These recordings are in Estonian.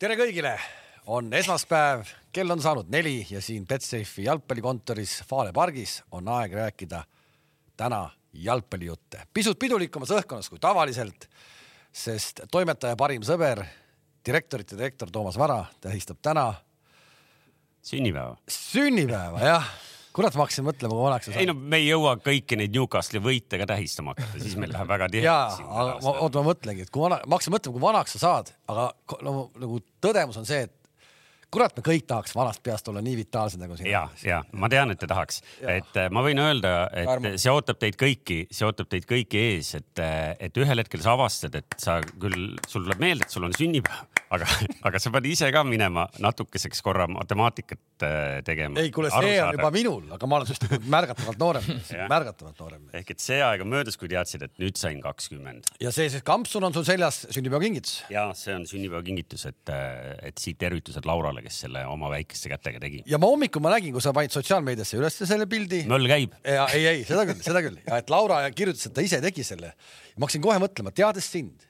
tere kõigile, on esmaspäev, kell on saanud neli ja siin Betsafe'i jalgpallikontoris Fale pargis on aeg rääkida täna jalgpallijutte. pisut pidulikumas õhkkonnas kui tavaliselt, sest toimetaja parim sõber, direktorite direktor Toomas Vara tähistab täna sünnipäeva. sünnipäeva, jah. kurat, ma hakkasin mõtlema, kui vanaks sa ei saad no me ei jõua kõiki neid Newcastle'i võite ka tähistama hakata , siis meil läheb väga jaa tihedaks ,. aga ma , oota , ma mõtlengi , et kui vana , ma hakkasin mõtlema , kui vanaks sa saad , aga ko- no, nagu tõdemus on see , et kurat , me kõik tahaks vanast peast olla nii vitaalsed nagu sina ja ,. ja ma tean , et te tahaks , et eh, ma võin öelda , et Armo. see ootab teid kõiki , see ootab teid kõiki ees , et , et ühel hetkel sa avastad , et sa küll , sul tuleb meelde , et sul on sünnipäev , aga , aga sa pead ise ka minema natukeseks korra matemaatikat eh, tegema . ei , kuule , see on juba minul , aga ma olen just märgatavalt noorem , märgatavalt noorem . ehk et see aeg on möödas , kui teadsid , et nüüd sain kakskümmend ja see siis kampsun on sul seljas sünnipäevakingitus . ja see on sünnipäevakingitus , et , et siit tervitused Laurale , kes selle oma väikeste kätega tegi . ja ma hommikul ma nägin , kui sa panid sotsiaalmeediasse ülesse selle pildi . möll käib . ja ei , ei seda küll , seda küll , et Laura kirjutas , et ta ise tegi selle . ma hakkasin kohe mõtlema , teades sind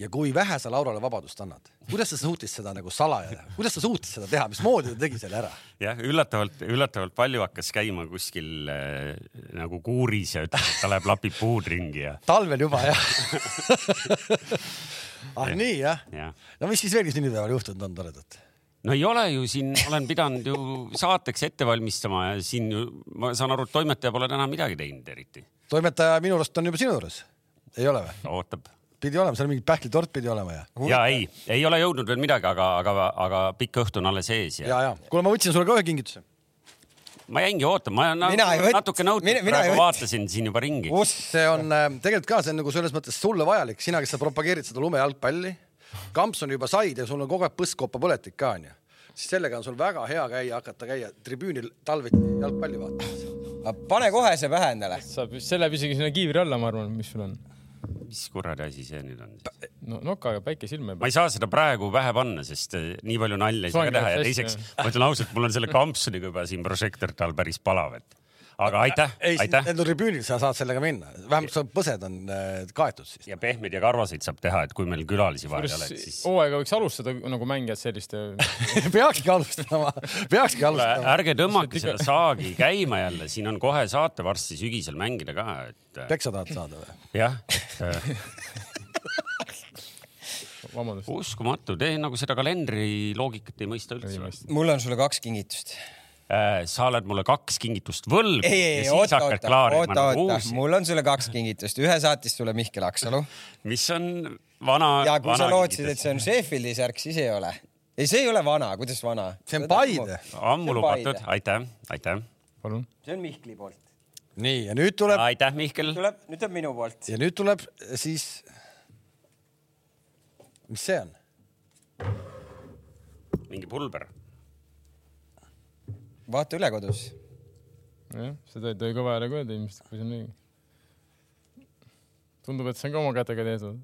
ja kui vähe sa Laurale vabadust annad , kuidas sa suutis seda nagu salaja teha , kuidas sa suutis seda teha , mismoodi ta tegi selle ära ? jah , üllatavalt , üllatavalt palju hakkas käima kuskil äh, nagu kuuris ja ütles , et ta läheb lapib puud ringi ja , talvel juba jah ah nii jah ja . no mis siis veel sünnipäeval juhtunud on toredat ? no ei ole ju siin , olen pidanud ju saateks ette valmistama ja siin ju ma saan aru , et toimetaja pole täna midagi teinud eriti . toimetaja minu arust on juba sinu juures , ei ole või ? ootab . pidi olema , seal mingi pähklitort pidi olema ja . ja ei , ei ole jõudnud veel midagi , aga , aga , aga pikk õhtu on alles ees ja, ja , ja kuule , ma võtsin sulle ka ühe kingituse . ja. ma jäingi ootama , ma Mina ei olen võt- natuke nõutud mina- , mina ei praegu võt- vaatasin siin juba ringi . see on äh, tegelikult ka , see on nagu selles mõttes sulle vajalik , sina , kes sa propageerid seda lumejalgpalli , kampsuni juba said ja sul on kogu aeg põskkopapõletik ka onju , siis sellega on sul väga hea käia , hakata käia tribüünil talviti jalgpalli vaatamas . pane kohe see pähe endale . saab , see läheb isegi sinna kiivri alla , ma arvan , mis sul on . mis kuradi asi see nüüd on siis ? no nokaga päike silme ma peal . ei saa seda praegu pähe panna , sest eh, nii palju nalja ei saa ka Soeng teha ja läheb teiseks hästi, ma ütlen ausalt , mul on selle kampsuniga juba siin prožektor tal päris palav , et aga aitäh , ei , aitäh no tribüünil sa saad sellega minna , vähemalt sa põsed on äh, kaetud siis . ja pehmeid ja karvaseid saab teha , et kui meil külalisi vaja ei ole , et siis hooaega võiks alustada nagu mängijad selliste peakski alustama , peakski Kuule, alustama . ärge tõmmake seda saagi käima jälle , siin on kohe saate varsti sügisel mängida ka , et eh, peksa tahad saada või ? jah , eh, vabandust . uskumatu , te nagu seda kalendri loogikat ei mõista ei üldse . mõista . mul on sulle kaks kingitust . sa oled mulle kaks kingitust võlgu ei , ei , ja ei , siis oota , hakkad oota , klaarima oota , nagu oota , uusi , mul on sulle kaks kingitust , ühe saatis sulle Mihkel Aksalu mis on vana . ja kui sa lootsid , et see on Sheffieldi särk , siis ei ole . ei , see ei ole vana , kuidas vana ? See on Paide. ammu lubatud , aitäh , aitäh , palun . see on Mihkli poolt . nii ja nüüd tuleb aitäh , Mihkel . tuleb , nüüd on minu poolt . ja nüüd tuleb eh, siis . mis see on ? mingi pulber . vaata üle kodus . jah , seda ei tohi kõva häälega öelda ilmselt , kui see on õige . tundub , et see on ka oma kätega tehtud .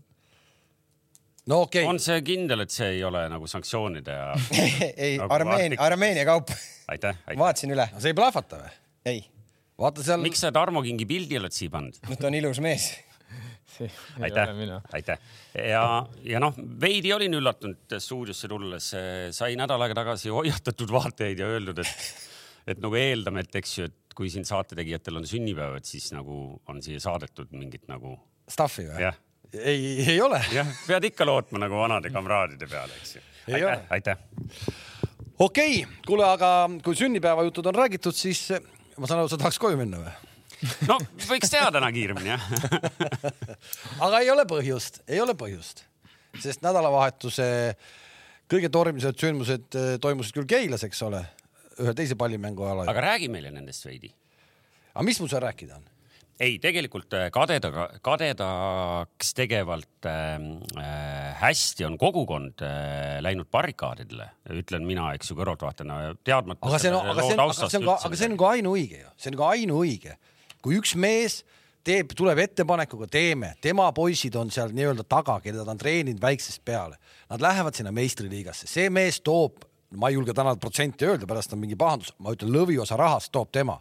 no okei on okay. , see kindel , et see ei ole nagu sanktsioonide ja ei , Nagu Armeenia , Arktik- Armeenia kaup . aitäh , aitäh . vaatasin üle , see ei plahvata või ? ei , vaata seal . miks sa Tarmo Kingi pildi oled siia pannud ? no ta on ilus mees . see ei aitäh ole mina ., aitäh ja , ja noh , veidi olin üllatunud stuudiosse tulles , sai nädal aega tagasi hoiatatud vaatajaid ja öeldud , et , et nagu eeldame , et eks ju , et kui siin saatetegijatel on sünnipäev , et siis nagu on siia saadetud mingit nagu Staffi või jah ?, ei , ei ole . jah , pead ikka lootma nagu vanade kamraadide peale , eks ju . Ei aitäh ole. , aitäh okei okay. , kuule , aga kui sünnipäevajutud on räägitud , siis eh, ma saan aru , sa tahaks koju minna või ? no võiks teha täna kiiremini jah . aga ei ole põhjust , ei ole põhjust , sest nädalavahetuse kõige tormilised sündmused eh, toimusid küll Keilas , eks ole , ühe teise pallimängu alal . aga räägi meile nendest veidi . aga mis mul seal rääkida on ? ei , tegelikult äh, kadeda , kadedaks tegevalt ähm, äh, hästi on kogukond äh, läinud barrikaadidele , ütlen mina , eks ju , kõrvaltvaatajana teadmata . aga see on , aga see on , aga see on ka , aga see on . ka ainuõige ju , see on ka ainuõige , kui üks mees teeb , tuleb ettepanekuga , teeme , tema poisid on seal nii-öelda taga , keda ta on treeninud väiksest peale , nad lähevad sinna meistriliigasse , see mees toob , ma ei julge täna protsenti öelda , pärast on mingi pahandus , ma ütlen , lõviosa rahast toob tema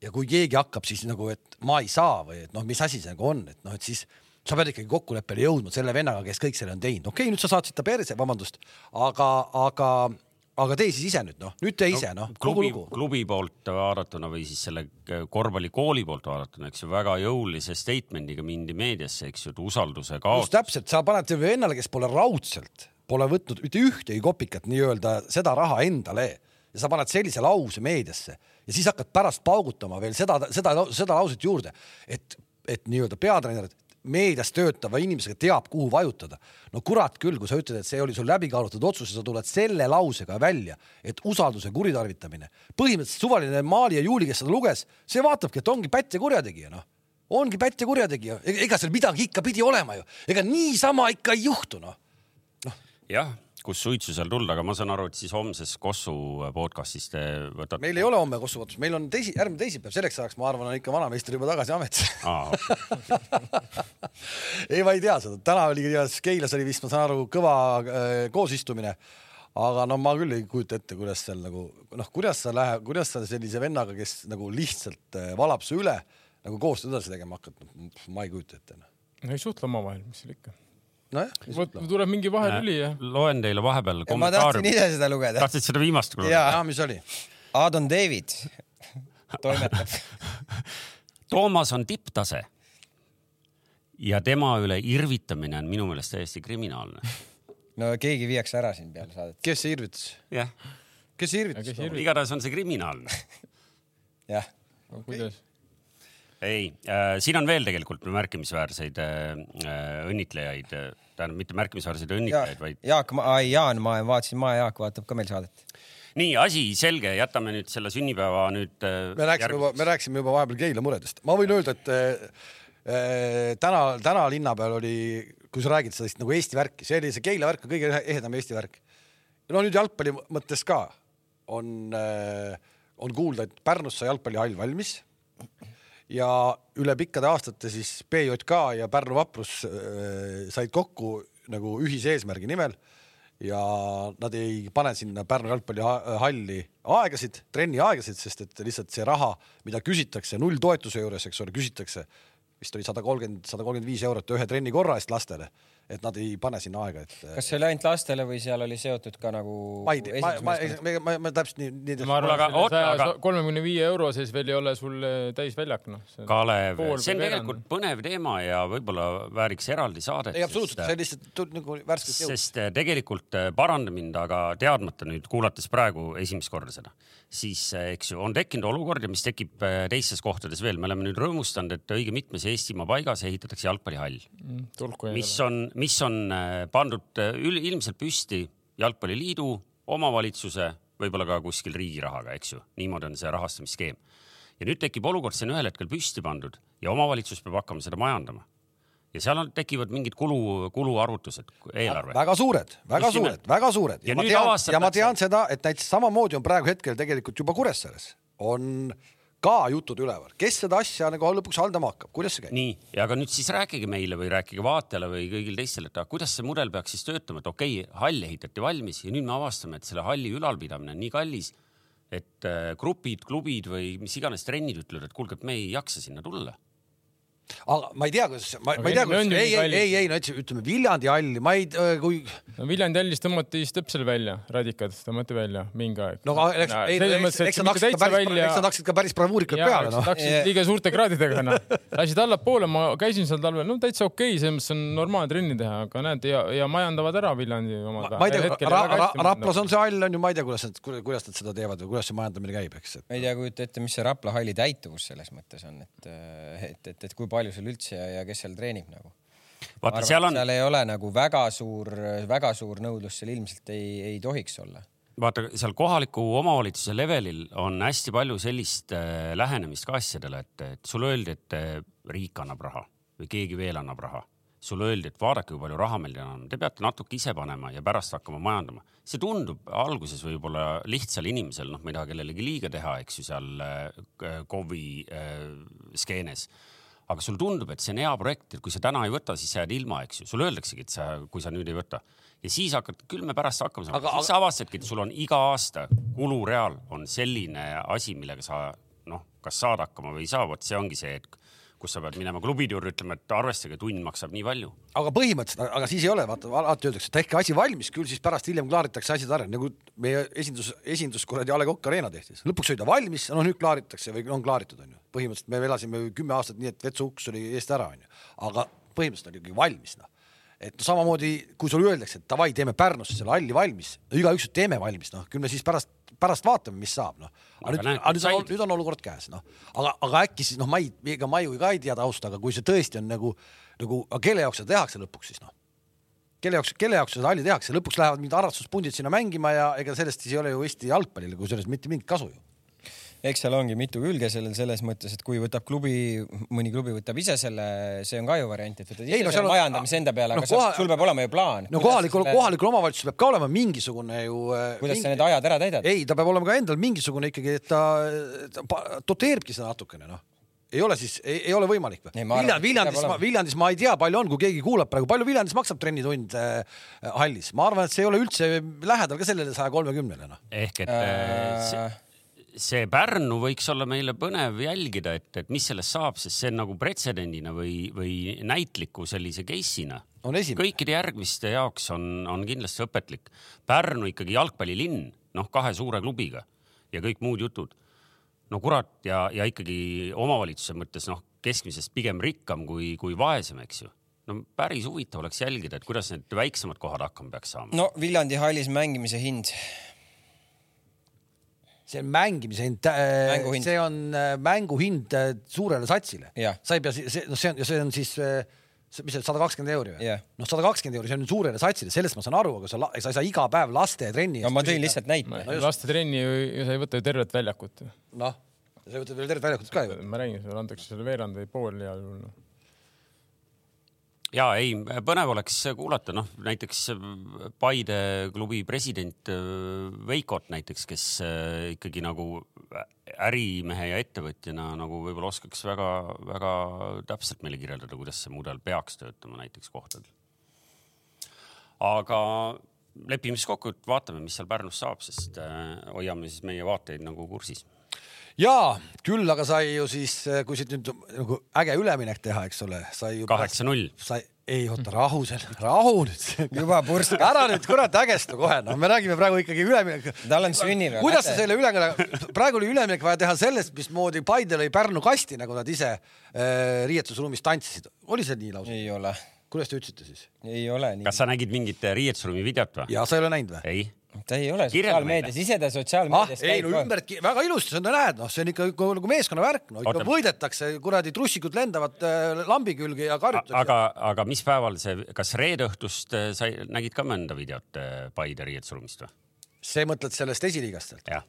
ja kui keegi hakkab siis nagu , et ma ei saa või et noh , mis asi see nagu on , et noh , et siis sa pead ikkagi kokkuleppele jõudma selle vennaga , kes kõik selle on teinud , okei okay, , nüüd sa saatsid ta perse , vabandust , aga , aga , aga tee siis ise nüüd noh , nüüd tee ise noh , kogu nagu klubi , lugu . klubi poolt vaadatuna või siis selle äh, korvpallikooli poolt vaadatuna , eks ju , väga jõulise statement'iga mindi meediasse , eks ju , et usalduse just kaotus . täpselt , sa paned sellele vennale , kes pole raudselt , pole võtnud mitte ühtegi kopikat nii-öelda seda raha endale ja sa paned sellise lause meediasse ja siis hakkad pärast paugutama veel seda , seda , seda lauset juurde , et , et nii-öelda peatreener meedias töötava inimesega teab , kuhu vajutada . no kurat küll , kui sa ütled , et see oli sul läbikaalutud otsus ja sa tuled selle lausega välja , et usalduse kuritarvitamine . põhimõtteliselt suvaline Maali ja Juuli , kes seda luges , see vaatabki , et ongi pätt ja kurjategija , noh ongi pätt ja kurjategija , ega seal midagi ikka pidi olema ju , ega niisama ikka ei juhtu noh . jah , kus suitsu seal tulla , aga ma saan aru , et siis homses Kossu podcast'is te võtate . meil ei ole homme kossuvõtlus , meil on teisi , järgmine teisipäev , selleks ajaks ma arvan , on ikka vanameister juba tagasi ametis . ole . ei , ma ei tea seda , täna oli igatahes Keilas oli vist , ma saan aru , kõva äh, koosistumine . aga no ma küll ei kujuta ette , kuidas seal nagu noh , kuidas sa lähed , kuidas sa sellise vennaga , kes nagu lihtsalt äh, valab su üle nagu koostööd edasi tegema hakkad , ma ei kujuta ette noh . ei suhtle omavahel , mis seal ikka . vot nojah , tuleb mingi vahelüli ja loen teile vahepeal ma tahtsin kommentaariumi . ise seda lugeda . tahtsid seda viimast kuulata ? jaa , mis oli ? Adon David toimetab . Toomas on tipptase . ja tema üle irvitamine on minu meelest täiesti kriminaalne . no keegi viiakse ära siin peale saadet . kes see irvitas ? jah , kes see irvitas ? igatahes on see kriminaalne . jah , aga kuidas ? ei äh, , siin on veel tegelikult märkimisväärseid äh, äh, õnnitlejaid , tähendab mitte märkimisväärseid õnnitlejaid , vaid Jaak , ai Jaan , ma vaatasin , Ma Jaak vaatab ka meil saadet . nii asi selge , jätame nüüd selle sünnipäeva nüüd äh, . me rääkisime juba , me rääkisime juba vahepeal Keila muredest , ma võin öelda , et äh, äh, täna , täna linna peal oli , kui sa räägid sellest nagu Eesti värki , see oli see Keila värk on kõige ehedam Eesti värk . no nüüd jalgpalli mõttes ka on äh, , on kuulda , et Pärnus sai jalgpallihall valmis ja üle pikkade aastate siis PJK ja Pärnu Vaprus äh, said kokku nagu ühise eesmärgi nimel ja nad ei pane sinna Pärnu jalgpallihalli aegasid , trenni aegasid , sest et lihtsalt see raha , mida küsitakse nulltoetuse juures , eks ole , küsitakse vist oli sada kolmkümmend , sada kolmkümmend viis eurot ühe trenni korra eest lastele , et nad ei pane sinna aega , et äh, kas see oli ainult lastele või seal oli seotud ka nagu ? ma ei tea , ma , ma , ma, ma, ma täpselt nii, nii ma Aga- arvan , oota, et saja aga- kolmekümne viie euro sees veel ei ole sul eh, täisväljak , noh . Kalev , see on tegelikult . põnev teema ja võib-olla vääriks eraldi saadet . ei absoluutselt , see on lihtsalt tund- nagu värskelt jõud . sest eh, tegelikult eh, paranda mind , aga teadmata nüüd kuulates praegu esimest korda seda , siis eh, eks ju on tekkinud olukord ja mis tekib eh, teistes kohtades veel , me oleme nüüd rõõmustanud , et õige mitmes Eestimaa paigas ehitatakse jalgpallihall , Mm, tulku ei mis ole . on , mis on eh, pandud eh, ül- ilmselt püsti jalgpalliliidu , omavalitsuse , võib-olla ka kuskil riigi rahaga , eks ju , niimoodi on see rahastamisskeem . ja nüüd tekib olukord , see on ühel hetkel püsti pandud ja omavalitsus peab hakkama seda majandama ja seal on , tekivad mingid kulu , kuluarvutused , eelarve . väga suured , väga Just nimelt. suured , väga suured ja, ja Ja ma nüüd tean , avastatakse- ja ma tean seda , et näiteks samamoodi on praegu hetkel tegelikult juba Kuressaares on ka jutud üleval , kes seda asja nagu lõpuks haldama hakkab , kuidas see käib ? nii , aga nüüd siis rääkige meile või rääkige vaatajale või kõigil teistel , et aga kuidas see mudel peaks siis töötama , et okei okay, , hall ehitati valmis ja nüüd me avastame , et selle halli ülalpidamine on nii kallis , et äh, grupid , klubid või mis iganes trennid ütlevad , et kuulge , et me ei jaksa sinna tulla . aga ma ei tea , kuidas , ma , Aga ma ei tea , enne kuidas on , ju ei , ei , kallis. ei , ei no ütleme- ütleme Viljandi halli , ma ei , kui no Viljandi hallist tõmmati Stepsel välja , radikad tõmmati välja mingi aeg . no aga eks , ei , eks , eks nad hakkasid ka päris , eks nad hakkasid ka päris bravuurikalt peale noh . Jah. liiga suurte kraadidega , noh . lasid allapoole , ma käisin seal talvel , no täitsa okei okay, , selles mõttes on normaalne trenni teha , aga näed ja , ja majandavad ära Viljandi omad . ma ei tea , ra, ra, nagu- Raplas on see hall on ju , ma ei tea , kuidas nad , kuidas nad seda teevad või kuidas see majandamine käib , eks , et ma ei tea , kujuta ette , mis see Rapla halli täituvus selles mõttes on , et , et , et , et kui palju seal üldse ja, ja kes seal treenib nagu . vaata , seal on , seal ei ole nagu väga suur , väga suur nõudlus seal ilmselt ei , ei tohiks olla . vaata seal kohaliku omavalitsuse levelil on hästi palju sellist äh, lähenemist ka asjadele , et , et sulle öeldi , et äh, riik annab raha või keegi veel annab raha . sulle öeldi , et vaadake , kui palju raha meil täna on , te peate natuke ise panema ja pärast hakkama majandama . see tundub alguses võib-olla lihtsal inimesel , noh , ma ei taha kellelegi liiga teha , eks ju , seal äh, k- KOV-i äh, skeenes aga sul tundub , et see on hea projekt , et kui sa täna ei võta , siis sa jääd ilma , eks ju , sulle öeldaksegi , et sa , kui sa nüüd ei võta ja siis hakkad , küll me pärast hakkame saama , Aga- siis sa avastadki , et sul on iga aasta kulureal on selline asi , millega sa noh , kas saad hakkama või ei saa , vot see ongi see , et kus sa pead minema klubide juurde ütlema , et arvestage , tund maksab nii palju . aga põhimõtteliselt , aga siis ei ole , vaata alati öeldakse , tehke asi valmis , küll siis pärast hiljem klaaritakse asjad ära , nagu meie esindus , esindus kuradi A Le Coq Arena tehti , lõpuks oli ta valmis , no nüüd klaaritakse või on klaaritud , onju . põhimõtteliselt me elasime ju kümme aastat nii , et vetsu uks oli eest ära , onju , aga põhimõtteliselt oli ikkagi valmis , noh et no samamoodi , kui sulle öeldakse , et davai , teeme Pärnusse selle halli valmis , igaüks ütleb, teeme valmis , noh , küll me siis pärast , pärast vaatame , mis saab , noh . aga Aga nüüd , näed, aga nüüd, said. said... nüüd on olukord käes , noh , aga , aga äkki siis noh , ma ei , ega ma ju ka ei tea tausta , aga kui see tõesti on nagu , nagu , aga kelle jaoks seda tehakse lõpuks siis noh ? kelle jaoks , kelle jaoks seda halli tehakse , lõpuks lähevad mingid harrastuspundid sinna mängima ja ega sellest siis ei ole ju Eesti jalgpallile kui sellest mitte mingit kasu ju . eks seal ongi mitu külge sellel selles mõttes , et kui võtab klubi , mõni klubi võtab ise selle , see on ka ju variant , et võtad Ei, ise no no, seal selle on- majandamise enda peale , no aga koha... koha- sul peab olema ju plaan . no kohalikul , kohalikul omavalitsusel peab ka olema mingisugune ju . äh, kuidas sa need ajad ära täidad ? ei , ta peab olema ka endal mingisugune ikkagi , et ta, ta pa- doteeribki seda natukene noh . ei ole siis , ei ole võimalik või ? Ei, ma Viljandis , arvan, et peab Viljandis olema. , Viljandis ma ei tea , palju on , kui keegi kuulab praegu , palju Viljandis maksab trennitund äh, hallis , ma arvan , et see ei ole üldse lähedal ka sellele saja kolmekümnele noh . ehk et äh... see, see Pärnu võiks olla meile põnev jälgida , et , et mis sellest saab , sest see on nagu pretsedendina või , või näitliku sellise case'ina . on esimene . kõikide järgmiste jaoks on , on kindlasti õpetlik . Pärnu ikkagi jalgpallilinn , noh , kahe suure klubiga ja kõik muud jutud . no kurat ja , ja ikkagi omavalitsuse mõttes noh , keskmisest pigem rikkam kui , kui vaesem , eks ju . no päris huvitav oleks jälgida , et kuidas need väiksemad kohad hakkama peaks saama . no Viljandi hallis mängimise hind , see on mängimise hind äh, Mänguhind. , see on äh, mänguhind äh, suurele satsile Jah. . sa ei pea , see , noh , see on , see on siis , mis see sada kakskümmend euri või Jah. ? noh , sada kakskümmend euri , see on nüüd suurele satsile , sellest ma saan aru , aga sa , sa ei saa iga päev laste trenni . no ma tõin lihtsalt näite . lastetrenni ju- sa ei võta ju tervet väljakut . noh , sa võtad veel tervet väljakut ka ju . ma räägin sulle , antakse sulle veerand või pool heal juhul noh. ja ei , põnev oleks kuulata , noh näiteks Paide klubi president öö, Veikot näiteks , kes öö, ikkagi nagu ärimehe ja ettevõtjana nagu võib-olla oskaks väga-väga täpselt meile kirjeldada , kuidas see mudel peaks töötama näiteks kohtadel . aga lepime siis kokku , et vaatame , mis seal Pärnus saab , sest öö, hoiame siis meie vaateid nagu kursis . jaa , küll aga sai ju siis , kui siit nüüd nagu äge üleminek teha , eks ole , sai ju . kaheksa-null . sai , ei oota , rahu seal , rahu nüüd . juba pursk , ära nüüd kurat ägesta kohe , noh , me räägime praegu ikkagi üleminek tal on sünnipäev . kuidas sa selle ülemineku , praegu oli üleminek vaja teha sellest , mismoodi Paide lõi Pärnu kasti , nagu nad ise äh, riietusruumis tantsisid . oli see nii lausa ? ei ole , kuidas te ütlesite siis ? ei ole nii . kas sa nägid mingit riietusruumi videot või ? ja sa ei ole näinud või ? ei ta ei ole Kirjelda meile. sotsiaalmeedias , ise ta ah , sotsiaalmeedias ei no ümbert , väga ilusti , sa näed , noh , see on ikka nagu nagu meeskonna värk , no ikka Oota. võidetakse , kuradi trussikud lendavad äh, lambi külge ja A- karjutakse . aga , aga mis päeval see , kas reede õhtust äh, sai , nägid ka mõnda videot äh, Paide riietusruumist või ? see mõtled sellest esiliigast sealt ? jah .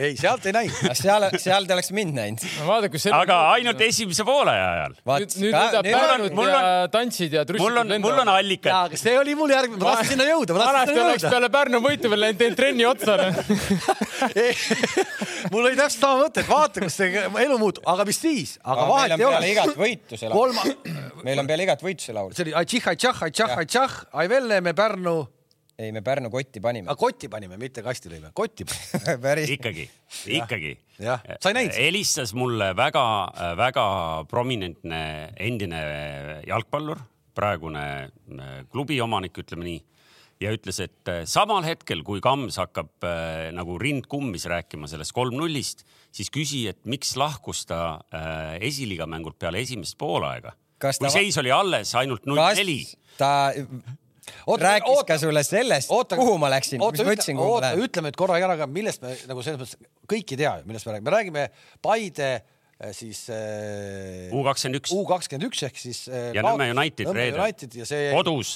ei , sealt ei näinud . seal , seal ta oleks mind näinud . no vaadake , kus aga ainult esimese poole ajal . vaat nüüd , nüüd võidab , on- Pärnut mul ja tantsid ja mul trussikud on , mul on jaa , allikad . aga see oli mul järgmine , ma tahtsin sinna jõuda , ma tahtsin vanasti sinna oleks jõuda . peale Pärnu võitu veel läinud , teinud trenni otsa . Ei, mul oli täpselt sama mõte , et vaata , kas see elu muutub , aga mis siis , aga vahet ei ole . igat võitu see laul . kolma , meil on peale igat võitu see laul . see oli Aitših , Aitšah , Aitšah , Aitšah , Ai Velle , me Pärnu , ei , me Pärnu kotti panime . kotti panime , mitte kasti lõime , kotti panime . päris . ikkagi , ikkagi . Jah. Sa ei näinud seda? helistas mulle väga-väga prominentne endine jalgpallur , praegune äh, klubi omanik , ütleme nii ja ütles , et äh, samal hetkel , kui Kams hakkab äh, nagu rind kummis rääkima sellest kolm-nullist , siis küsi , et miks lahkus ta äh, esiliiga mängult peale esimest poolaega . Kas kui ta va- seis oli alles ainult kas null-neli . ta Oota, oota, rääkis oota. oota, ka sulle sellest , kuhu ma läksin , mis ma ütlesin , kuhu ma oota , lähen ? ütleme nüüd korra ära ka , millest me nagu selles mõttes kõik ei tea , millest me räägime , me räägime Paide eh, siis eh, U kakskümmend üks U kakskümmend üks ehk siis eh, ja Nõmme United Nõmme reedel United ja see kodus .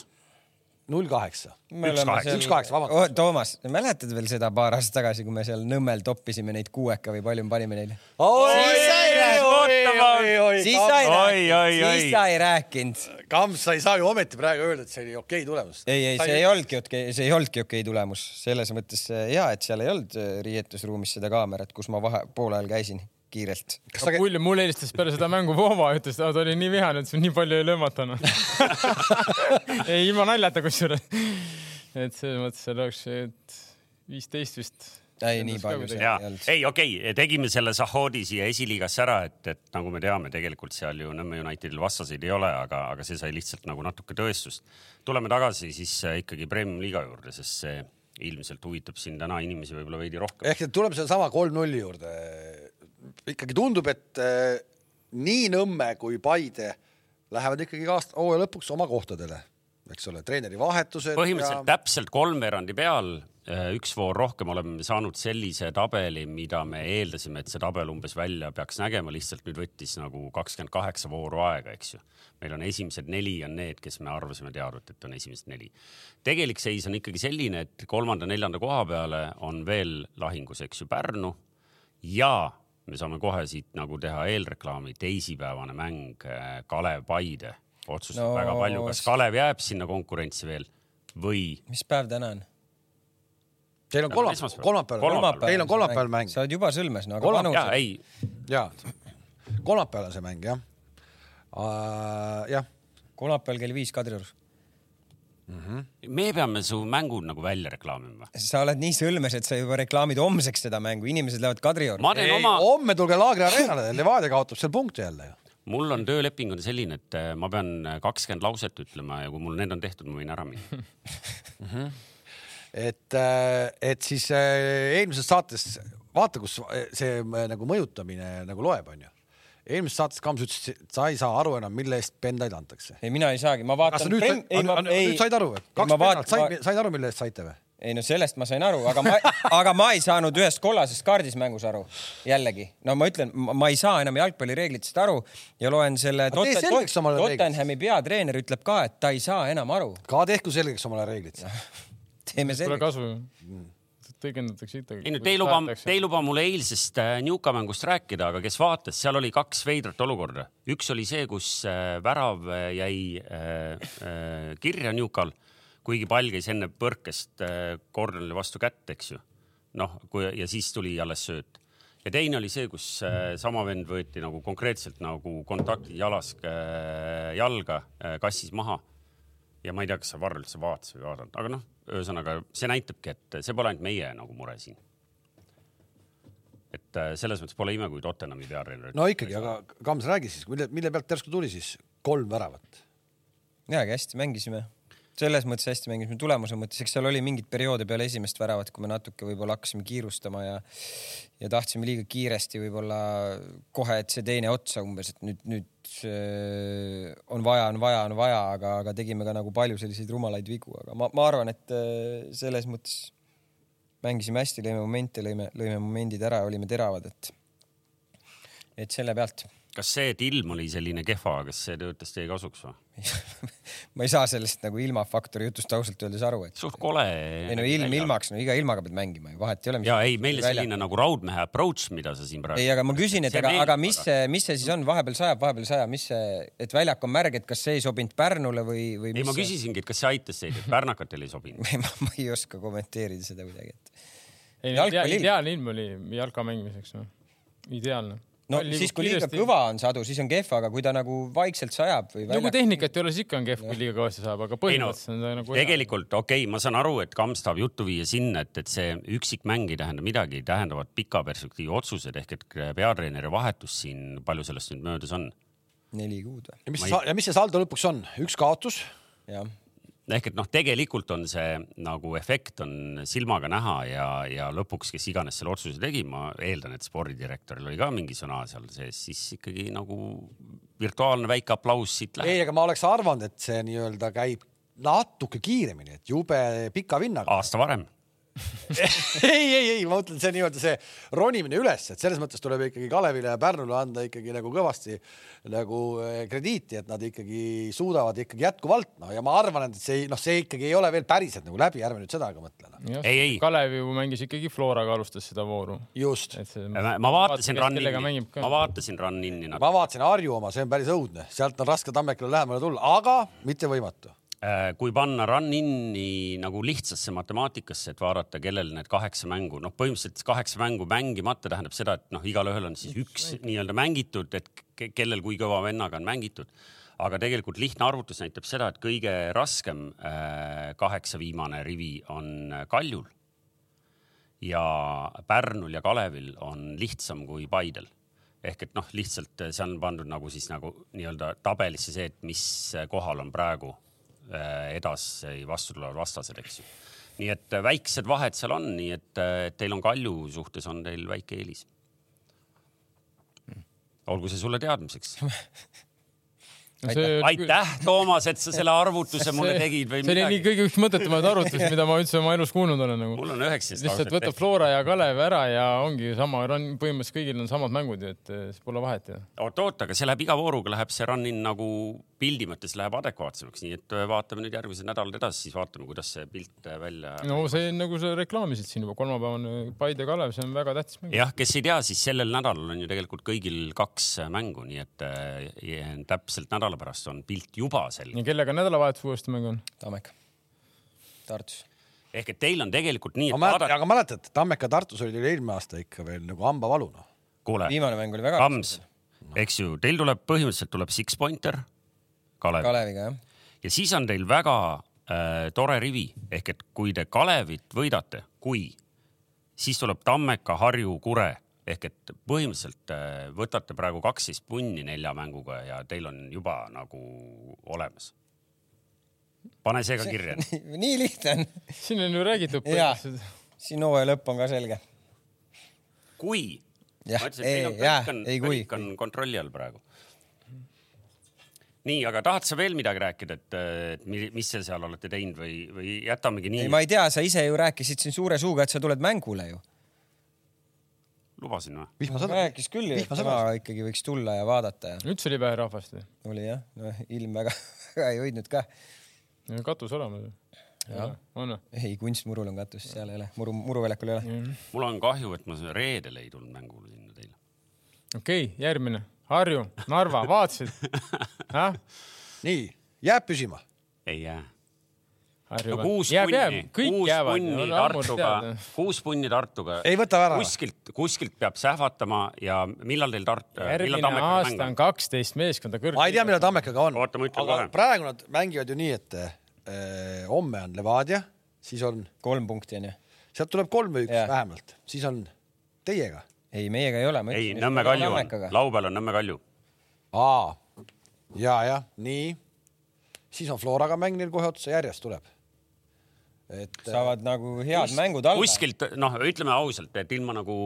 null kaheksa . üks kaheksa. Üks kaheksa, vabandust. . Oh, Toomas , mäletad veel seda paar aastat tagasi , kui me seal Nõmmel toppisime neid kuueka või palju me panime neile ? Siis sai siis sa ei Oi, oi, rääkinud , oi. siis sa ei rääkinud . Kams , sa ei saa ju ometi praegu öelda , et see oli okei tulemus . ei , ei , see ei olnudki okei , see ei olnudki okei tulemus , selles mõttes äh, hea , et seal ei olnud äh, riietusruumis seda kaamerat , kus ma vahe , pool ajal käisin kiirelt . Kas sa- Kulju , mulle helistas peale seda mängu Vova , ütles , et ah, ta oli nii vihane , et siin nii palju ei löömata noh . ei , ilma naljata kusjuures . et selles mõttes seal oleks viisteist vist ei , nii palju seal ja ei olnud . ei , okei okay, , tegime selle Zahhoodi siia esiliigasse ära , et , et nagu me teame , tegelikult seal ju Nõmme Unitedil vastaseid ei ole , aga , aga see sai lihtsalt nagu natuke tõestust . tuleme tagasi siis äh, ikkagi Premium-liiga juurde , sest see ilmselt huvitab siin täna inimesi võib-olla veidi rohkem . ehk et tuleme sellesama kolm-nulli juurde . ikkagi tundub , et eh, nii Nõmme kui Paide lähevad ikkagi aasta , hooaja lõpuks oma kohtadele , eks ole , treeneri vahetused . põhimõtteliselt ja... täpselt kolmveerandi peal , üks voor rohkem oleme me saanud sellise tabeli , mida me eeldasime , et see tabel umbes välja peaks nägema , lihtsalt nüüd võttis nagu kakskümmend kaheksa vooru aega , eks ju . meil on esimesed neli on need , kes me arvasime teadvat , et on esimesed neli . tegelik seis on ikkagi selline , et kolmanda-neljanda koha peale on veel lahingus , eks ju , Pärnu ja me saame kohe siit nagu teha eelreklaami , teisipäevane mäng äh, Kalev-Paide otsustab No, no, väga palju , kas s- Kalev jääb sinna konkurentsi veel või mis päev täna on ? Teil on Nad on kolmapäeval , esmaspäeval. kolmapäeval , Kolmapäeval. teil on kolmapäeval mäng sa oled juba sõlmes , no aga Kolmapäeval. vanus ja . ei , ja kolmapäeval on see mäng jah . jah , kolmapäeval kell viis Kadriorus . me peame su mängu nagu välja reklaamima . sa oled nii sõlmes , et sa juba reklaamid homseks seda mängu , inimesed lähevad Kadriorgu . ma teen oma , homme tulge Laagri arenale , Levadia kaotab seal punkte jälle ju . mul on tööleping on selline , et äh, ma pean kakskümmend lauset ütlema ja kui mul need on tehtud , ma võin ära minna . et , et siis äh, eelmises saates vaata , kus see äh, nagu mõjutamine nagu loeb , onju . eelmises saates Kams ütles , et sa ei saa aru enam , mille eest pendaid antakse . ei , mina ei saagi , ma kas vaatan sa nüüd , ei ma ei nüüd , said aru või ? ma kaks vaatan , pennalt said , said aru , mille eest saite või ? ei no sellest ma sain aru , aga ma , aga ma ei saanud ühest kollasest kaardis mängus aru . jällegi , no ma ütlen , ma ei saa enam jalgpallireeglitest aru ja loen selle Aga tee selgeks omale reeglid. Tottenhami peatreener ütleb ka , et ta ei saa enam aru . ka tehku selgeks omale reeglid . teeme pole selgeks . kasu ju . Mm. tõlgendatakse ikkagi . ei no te ei luba , te ei luba mulle eilsest äh, Newca mängust rääkida , aga kes vaatas , seal oli kaks veidrat olukorda . üks oli see , kus äh, värav äh, jäi äh, äh, kirja Newcal , kuigi pall käis enne põrkest äh, kornerile vastu kätt , eks ju . noh , kui ja siis tuli alles sööt . ja teine oli see , kus äh, sama vend võeti nagu konkreetselt nagu kontakti jalas äh, jalga äh, kassis maha ja ma ei tea , kas sa Varro üldse vaatas või ei vaadanud , aga noh , ühesõnaga see näitabki , et see pole ainult meie nagu mure siin . et äh, selles mõttes pole ime , kui Tottenhami peatreener no ikkagi , aga Kams , räägi siis , mille , mille pealt järsku tuli siis kolm väravat ? jaa , aga hästi mängisime . selles mõttes hästi mängisime , tulemuse mõttes , eks seal oli mingeid perioode peale esimest väravat , kui me natuke võib-olla hakkasime kiirustama ja ja tahtsime liiga kiiresti võib-olla kohe , et see teine otsa umbes , et nüüd , nüüd öö, on vaja , on vaja , on vaja , aga , aga tegime ka nagu palju selliseid rumalaid vigu , aga ma , ma arvan , et öö, selles mõttes mängisime hästi , lõime momente , lõime , lõime momendid ära ja olime teravad , et et selle pealt kas see , et ilm oli selline kehva , kas see töötas teie kasuks või ? ma ei saa sellest nagu ilmafaktori jutust ausalt öeldes aru , et suht kole . ei no ilm . ilmaks , no iga ilmaga pead mängima ju , vahet ei ole . ja ei , meil selline nagu raudmehe approach , mida sa siin ei , praegu . aga ma küsin , et See aga , meeldib aga mis see , mis see siis on , vahepeal sajab , vahepeal ei saja , mis see , et väljak on märg , et kas see ei sobinud Pärnule või , või ei , mis ma küsisingi , et kas see aitas teid , et pärnakatel ei sobinud . see... ? ma ei oska kommenteerida seda kuidagi , et ei , Jalgpalli- ideaalne ilm oli jalka mängimiseks no. . ideaalne . no siis , kui liiga kõva on sadu , siis on kehv , aga kui ta nagu vaikselt sajab või no kui väljak... tehnikat ei ole , siis ikka on kehv , kui liiga kõvasti saab , ei no aga põhimõtteliselt on ta nagu . tegelikult okei okay, , ma saan aru , et Kams tahab juttu viia sinna , et , et see üksik mäng ei tähenda midagi , tähendavad pika perspektiivi otsused ehk et peatreeneri vahetus siin , palju sellest nüüd möödas on ? neli kuud või ? ja mis , ja mis see saldo lõpuks on ? üks kaotus jah , ehk et noh , tegelikult on see nagu efekt on silmaga näha ja , ja lõpuks , kes iganes selle otsuse tegi , ma eeldan , et spordidirektoril oli ka mingi sõna seal sees , siis ikkagi nagu virtuaalne väike aplaus siit ei , läheb . aga ma oleks arvanud , et see nii-öelda käib natuke kiiremini , et jube pika vinnaga . aasta varem . ei , ei , ei , ma mõtlen , see nii-öelda see ronimine üles , et selles mõttes tuleb ikkagi Kalevile ja Pärnule anda ikkagi nagu kõvasti nagu eh, krediiti , et nad ikkagi suudavad ikkagi jätkuvalt noh , ja ma arvan , et see ei- noh , see ikkagi ei ole veel päriselt nagu läbi , ärme nüüd seda ka mõtle noh . Ei, ei. Kalev ju mängis ikkagi Floraga , alustas seda vooru . just , ma ma vaatasin Run-Inni , ma ma vaatasin Run-Inni natuke . ma vaatasin Harju oma , see on päris õudne , sealt on raske Tammekile lähemale tulla , aga mitte võimatu . Äh, kui panna run-in'i nagu lihtsasse matemaatikasse , et vaadata , kellel need kaheksa mängu , noh , põhimõtteliselt kaheksa mängu mängimata tähendab seda , et noh , igalühel on siis üks nii-öelda mängitud , et ke- kellel kui kõva vennaga on mängitud . aga tegelikult lihtne arvutus näitab seda , et kõige äh, raskem äh, kaheksa viimane rivi on Kaljul ja Pärnul ja Kalevil on lihtsam kui Paidel ehk et noh, lihtsalt see on pandud nagu siis nagu nii-öelda tabelisse see, et mis kohal on praegu eh, edasi vastu tulevad vastased, eks ju. nii et eh, väiksed vahed seal on, nii et eh, teil on Kalju suhtes on teil väike eelis. olgu see sulle teadmiseks see oli- aitäh , Toomas , et sa selle arvutuse mulle tegid või see oli nii midagi . kõige üks mõttetumaid arvutusi , mida ma üldse oma elus kuulnud olen nagu . mul on üheksateist lihtsalt võtab . Flora ja Kalev ära ja ongi ju sama , põhimõtteliselt kõigil on samad mängud ju , et eh, siis pole vahet ju . oot-oot , aga see läheb iga vooruga läheb see run-in nagu pildi mõttes läheb adekvaatsemaks , nii et äh, vaatame nüüd järgmised nädalad edasi , siis vaatame , kuidas see pilt äh, välja . no see nagu sa reklaamisid siin juba , kolmapäevane Paide Kalev , see on väga tähtis mäng . jah , kes ei tea , siis sellel nädalal on ju tegelikult kõigil kaks mängu , nii et äh, täpselt nädala pärast on pilt juba selge . ja kellega nädalavahetus uuesti mäng on ? Tammeka , Tartus . ehk et teil on tegelikult nii , et vaadake , aga mäletad , Tammeka Tartus oli eelmine aasta ikka veel nagu hambavaluna . kuule , viimane mäng oli väga . Kams , eks ju , teil tuleb põhimõtteliselt tuleb six pointer , Kalev Kaleviga jah , ja siis on teil väga äh, tore rivi ehk et kui te Kalevit võidate , kui , siis tuleb Tammeka , Harju , Kure ehk et põhimõtteliselt äh, võtate praegu kaksteist punni nelja mänguga ja teil on juba nagu olemas . pane see ka kirja . nii lihtne on . siin on ju räägitud jaa põhimõtteliselt ., siin hooaja lõpp on ka selge . kui . Jah, ma ütlesin , et ei, teil on jah, kõik on , ei, kui. kõik on kontrolli all praegu . nii , aga tahad sa veel midagi rääkida , et , et mi- mis te seal olete teinud või , või jätamegi nii ei ,? ma ei tea , sa ise ju rääkisid siin suure suuga , et sa tuled mängule ju . lubasin või ? vihma sada . rääkis küll ju , et Vihma täna sadas. ikkagi võiks tulla ja vaadata ja üldse oli vähe rahvast ju . oli jah , noh ilm väga ei hoidnud ka . katus olemas ju . on või ? ei , kunstmurul on katus , seal ei ole , muru , muruväljakul ei ole . mul on kahju , et ma selle reedel ei tulnud mängule sinna teile . okei okay, , järgmine . Harju , Narva , vaatasid ? nii , jääb püsima . ei jää . Harju no kuus punni , kuus punni Tartuga , kuus punni Tartuga . Ei võta ära. kuskilt , kuskilt peab sähvatama ja millal teil Tart- , millal järgmine Tammekal mäng aasta on on ? kaksteist meeskonda kõrg- . ma ei tea , millal Tammekaga on . Oota, ma ütlen aga kohe. praegu nad mängivad ju nii , et eh, homme on Levadia , siis on , kolm punkti onju . sealt tuleb kolm või üks Jah. vähemalt , siis on teiega . ei , meiega ei ole . ei , Nõmme Kalju on , laupäeval on Nõmme Kalju . aa , ja , jah , nii . siis on Floraga mäng neil kohe otsa järjest tuleb . et eh, saavad nagu head mängud alla . kuskilt , noh , ütleme ausalt , et ilma nagu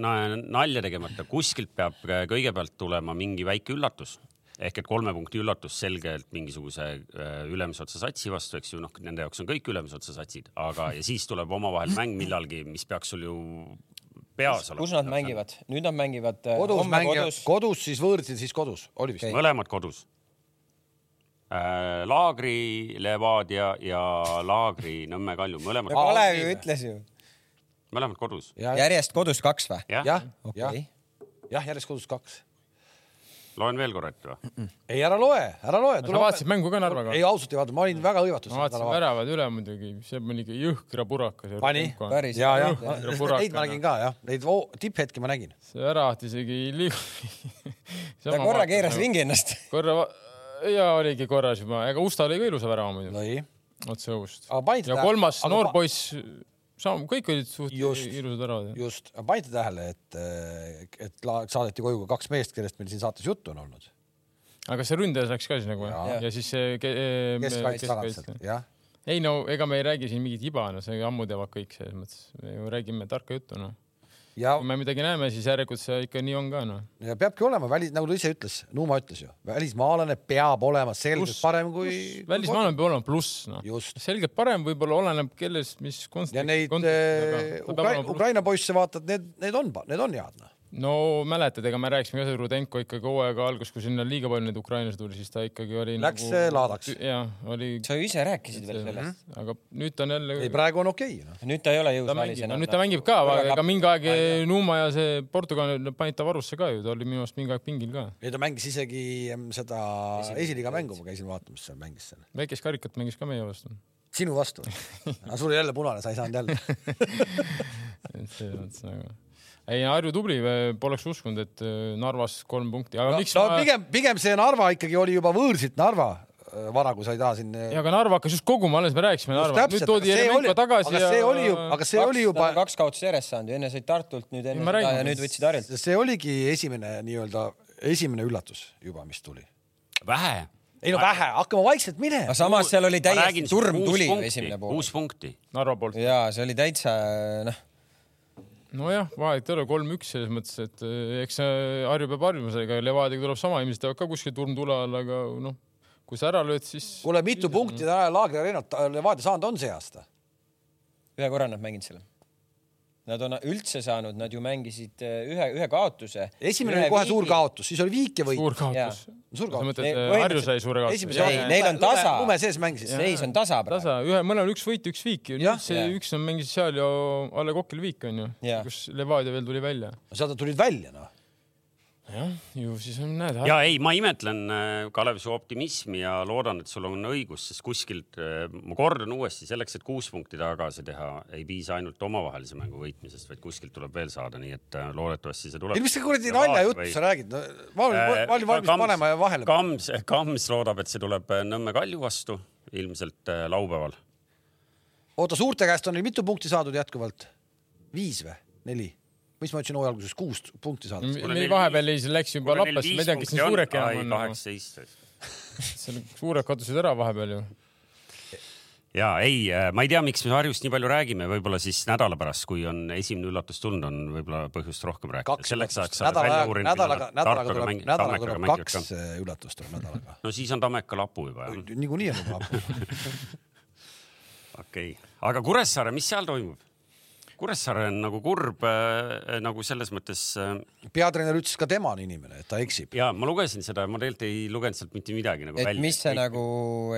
na- nalja tegemata , kuskilt peab äh, kõigepealt tulema mingi väike üllatus ehk et kolme punkti üllatus selgelt mingisuguse äh, ülemise otsa satsi vastu , eks ju , noh , nende jaoks on kõik ülemise otsa satsid , aga ja siis tuleb omavahel mäng millalgi , mis peaks sul ju peas olema . kus nad ? mängivad ? nüüd nad mängivad äh, kodus homme mängija , kodus . kodus siis võõrsil , siis kodus , oli vist Okei. okay. ? mõlemad kodus äh, . Laagri Levadia ja Laagri Nõmme Kalju , mõlemad , Kalev ju ütles ju . mõlemad kodus . jah , järjest kodus kaks või ? jah , jah , jah okei ,, jah , järjest kodus kaks . loen veel korra ette või ? ei , ära loe , ära loe . sa vaatasid mängu ka Narvaga ? ei , ausalt ei vaadanud , ma olin väga hõivatud . ma vaatasin . väravad üle muidugi , see on mingi jõhkra purakas . pani ? Päris ja , ja jõhker purakana. neid ma nägin ka jah , neid oo- tipphetki ma nägin . see väravat isegi ei liigu . ta korra keeras . ringi ennast . korra va- ja oligi korras juba , ega Usta oli ka ilusa värava muidu , no ei , otse õhust . Aga panite ja tähele- kolmas aga noor pa- poiss , sama , kõik olid suht Just. ilusad väravad . just , panite tähele , et , et la- saadeti koju ka kaks meest , kellest meil siin saates juttu on olnud . aga see ründajas läks ka siis nagu ja, ja siis see ke, eh, keskkaitse keskkaitse. tagantselt , jah . ei no ega me ei räägi siin mingit iba , no see ammu teavad kõik selles mõttes , me ju räägime tarka juttu noh . ja kui me midagi näeme , siis järelikult see ikka nii on ka noh . ja peabki olema välis , nagu ta ise ütles , Nuuma ütles ju , välismaalane peab olema selgelt parem kui . välismaalane peab olema pluss noh . Just. selgelt parem , võib-olla oleneb kellest , mis konst- . ja neid eh, Ukra Ukraina poisse vaatad , need , need on , need on head noh . no mäletad , ega me rääkisime ka seda Rudenko ikkagi hooaega alguses , kui sinna liiga palju neid ukrainlasi tuli , siis ta ikkagi oli . Läks, eh, laadaks. jah , oli . sa ju ise rääkisid veel sellest . aga nüüd ta on jälle . ei , praegu on okei okay, noh . nüüd ta ei ole ta jõus välis mängib , no enam . nüüd ta mängib ka , aga ega mingi aeg Nuuma ja see Portugal nad panid ta varusse ka ju , ta oli minu arust mingi aeg pingil ka . ja ta mängis isegi em, seda esiliiga mängu , ma käisin vaatamas seal mängis seal . väikest karikat mängis ka meie vastu . sinu vastu . aga sul oli jälle punane , sa ei saanud jälle . selles mõttes nagu . ei , Harju tubli , poleks uskunud , et äh, Narvas kolm punkti , aga no miks ma pigem , pigem see Narva ikkagi oli juba võõrsilt Narva vara , kui sa ei taha siin . äh, ja aga Narva hakkas just koguma , alles me rääkisime Narva , nüüd toodi Jeremenko tagasi aga ja . see oli ju , aga see oli juba , kaks kaotust järjest saanud ju , enne said Tartult , nüüd enne ma seda räägin. ja nüüd võtsid Harjult . see oligi esimene nii-öelda , esimene üllatus juba , mis tuli . vähe . ei no vähe , hakkame vaikselt minema aga . samas seal oli täiesti turm tuli ju esimene pool . kuus punkti . Narva poolt . ja see oli täitsa noh , nojah , vahet ei ole , kolm-üks selles mõttes , et eh, eks see Harju peab harjuma sellega , Levadiaga tuleb sama , inimesed jäävad ka kuskil turmtule all , aga noh , kui sa ära lööd , siis kuule , mitu punkti täna Laagri Arenalt äh, Levadia saanud on see aasta ? ühe korra nad mänginud selle . Nad on üldse saanud , nad ju mängisid eh, ühe , ühe kaotuse . esimene oli kohe suur . kaotus , siis oli viik ja võit . suur kaotus . Jaa. Suur kaotus. sa mõtled , Ei, et põhimõtteliselt- Harju sai suure esimese kaotuse ? Ei, aasta- neil on lume- tasa. lume sees mängisid . seis on tasa praegu . tasa , ühe , mõnel on üks võit , üks viik ju . Jah. see Jaa. üks on mängis seal ju alla kokil viik onju Jaa. , kus Levadia veel tuli välja . sealt nad tulid välja noh . jah , ju siis on , näed . ja ei , ma imetlen , Kalev , su optimismi ja loodan , et sul on õigus , sest kuskilt , ma kordan uuesti , selleks , et kuus punkti tagasi teha , ei piisa ainult omavahelise mängu võitmisest , vaid kuskilt tuleb veel saada , nii et äh, loodetavasti see tuleb . ei , mis see kuradi naljajutt sa räägid no, ? ma olin , ma olin valmis Äh, Kams- panema ja vahele . Kams , Kams loodab , et see tuleb äh, Nõmme Kalju vastu ilmselt äh, laupäeval . oota , suurte käest on neil mitu punkti saadud jätkuvalt ? viis või ? neli ? mis ma ütlesin hooaja alguses , kuus punkti saadud . Mm, meil vahepeal ei , see läks juba lappasse , ma ei tea , kes need suured enam on . kaheksateist . seal suured kadusid ära vahepeal ju . ja ei , ma ei tea , miks me Harjust nii palju räägime , võib-olla siis nädala pärast , kui on esimene üllatus tulnud , on võib-olla põhjust rohkem rääkida . selleks ajaks sa oled nädala välja , uurinud , nädalaga , nädalaga tuleb , nädalaga Tammekaga tuleb mängivad kaks ka . Mm. äh, üllatust tuleb nädalaga . no siis on Tammeka lapu juba jah , niikuinii on juba hapu . okei okay. . aga Kuressaare , mis seal toimub ? Kuressaare on nagu kurb äh, nagu selles mõttes äh, peatreener ütles , ka tema on inimene , et ta eksib . ja ma lugesin seda , ma tegelikult ei lugenud sealt mitte midagi nagu et välja . mis see nagu ,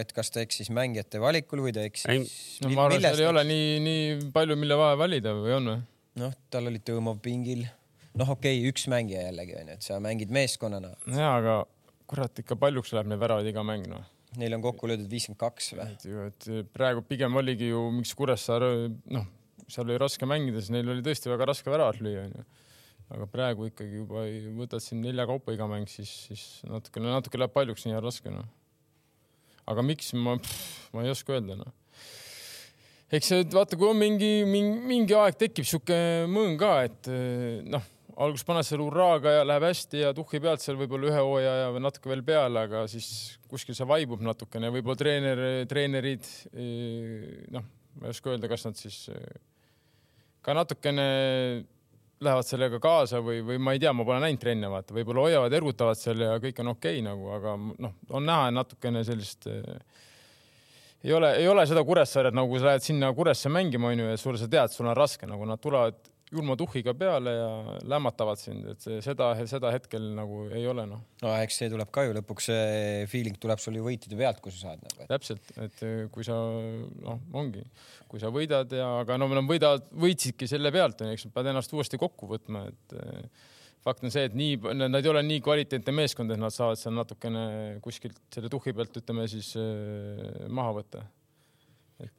et kas ta eksis mängijate valikul või ta Ei, eksis ? no ma arvan , seal ei ole nii , nii palju , mille vahel valida või on või ? noh , tal oli Tõmov pingil . noh , okei okay, , üks mängija jällegi onju , et sa mängid meeskonnana , jaa , aga kurat ikka paljuks läheb neid väravaid iga mäng noh . neil on kokku löödud viiskümmend kaks või ? et ju , et praegu pigem oligi ju miks Kuressaare , noh , seal oli raske mängida , sest neil oli tõesti väga raske väravat lüüa onju . aga praegu ikkagi juba ei- võtad siin nelja kaupa iga mäng , siis , siis natukene , natuke läheb paljuks nii raske noh . aga miks ma , ma ei oska öelda noh . eks see , vaata , kui on mingi, mingi , mingi aeg tekib sihuke mõõn ka , et eh, noh , alguses paned seal hurraaga ja läheb hästi ja tuhhi pealt seal võib-olla ühe hooaja ja või natuke veel peale , aga siis kuskil see vaibub natukene , võib-olla treener , treenerid eh, noh , ma ei oska öelda , kas nad siis eh, ka natukene lähevad sellega kaasa või , või ma ei tea , ma pole näinud trenne , vaata , võib-olla hoiavad , ergutavad seal ja kõik on okei okay, nagu , aga noh , on näha natukene sellist eh, ei ole , ei ole seda Kuressaaret , nagu kui sa lähed sinna Kuresse mängima , onju , ja sul , sa tead , sul on raske , nagu nad tulevad julma tuhhiga peale ja lämmatavad sind , et see- seda , seda hetkel nagu ei ole , noh , no eks see tuleb ka ju lõpuks , see feeling tuleb sul ju võitide pealt , kui sa saad nagu . täpselt , et eh, kui sa , noh , ongi , kui sa võidad ja , aga no nad võidavad , võitsidki selle pealt , onju , eks sa pead ennast uuesti kokku võtma , et eh, fakt on see , et nii , nad ei ole nii kvaliteetne meeskond , et nad saavad seal natukene kuskilt selle tuhhi pealt , ütleme siis eh, maha võtta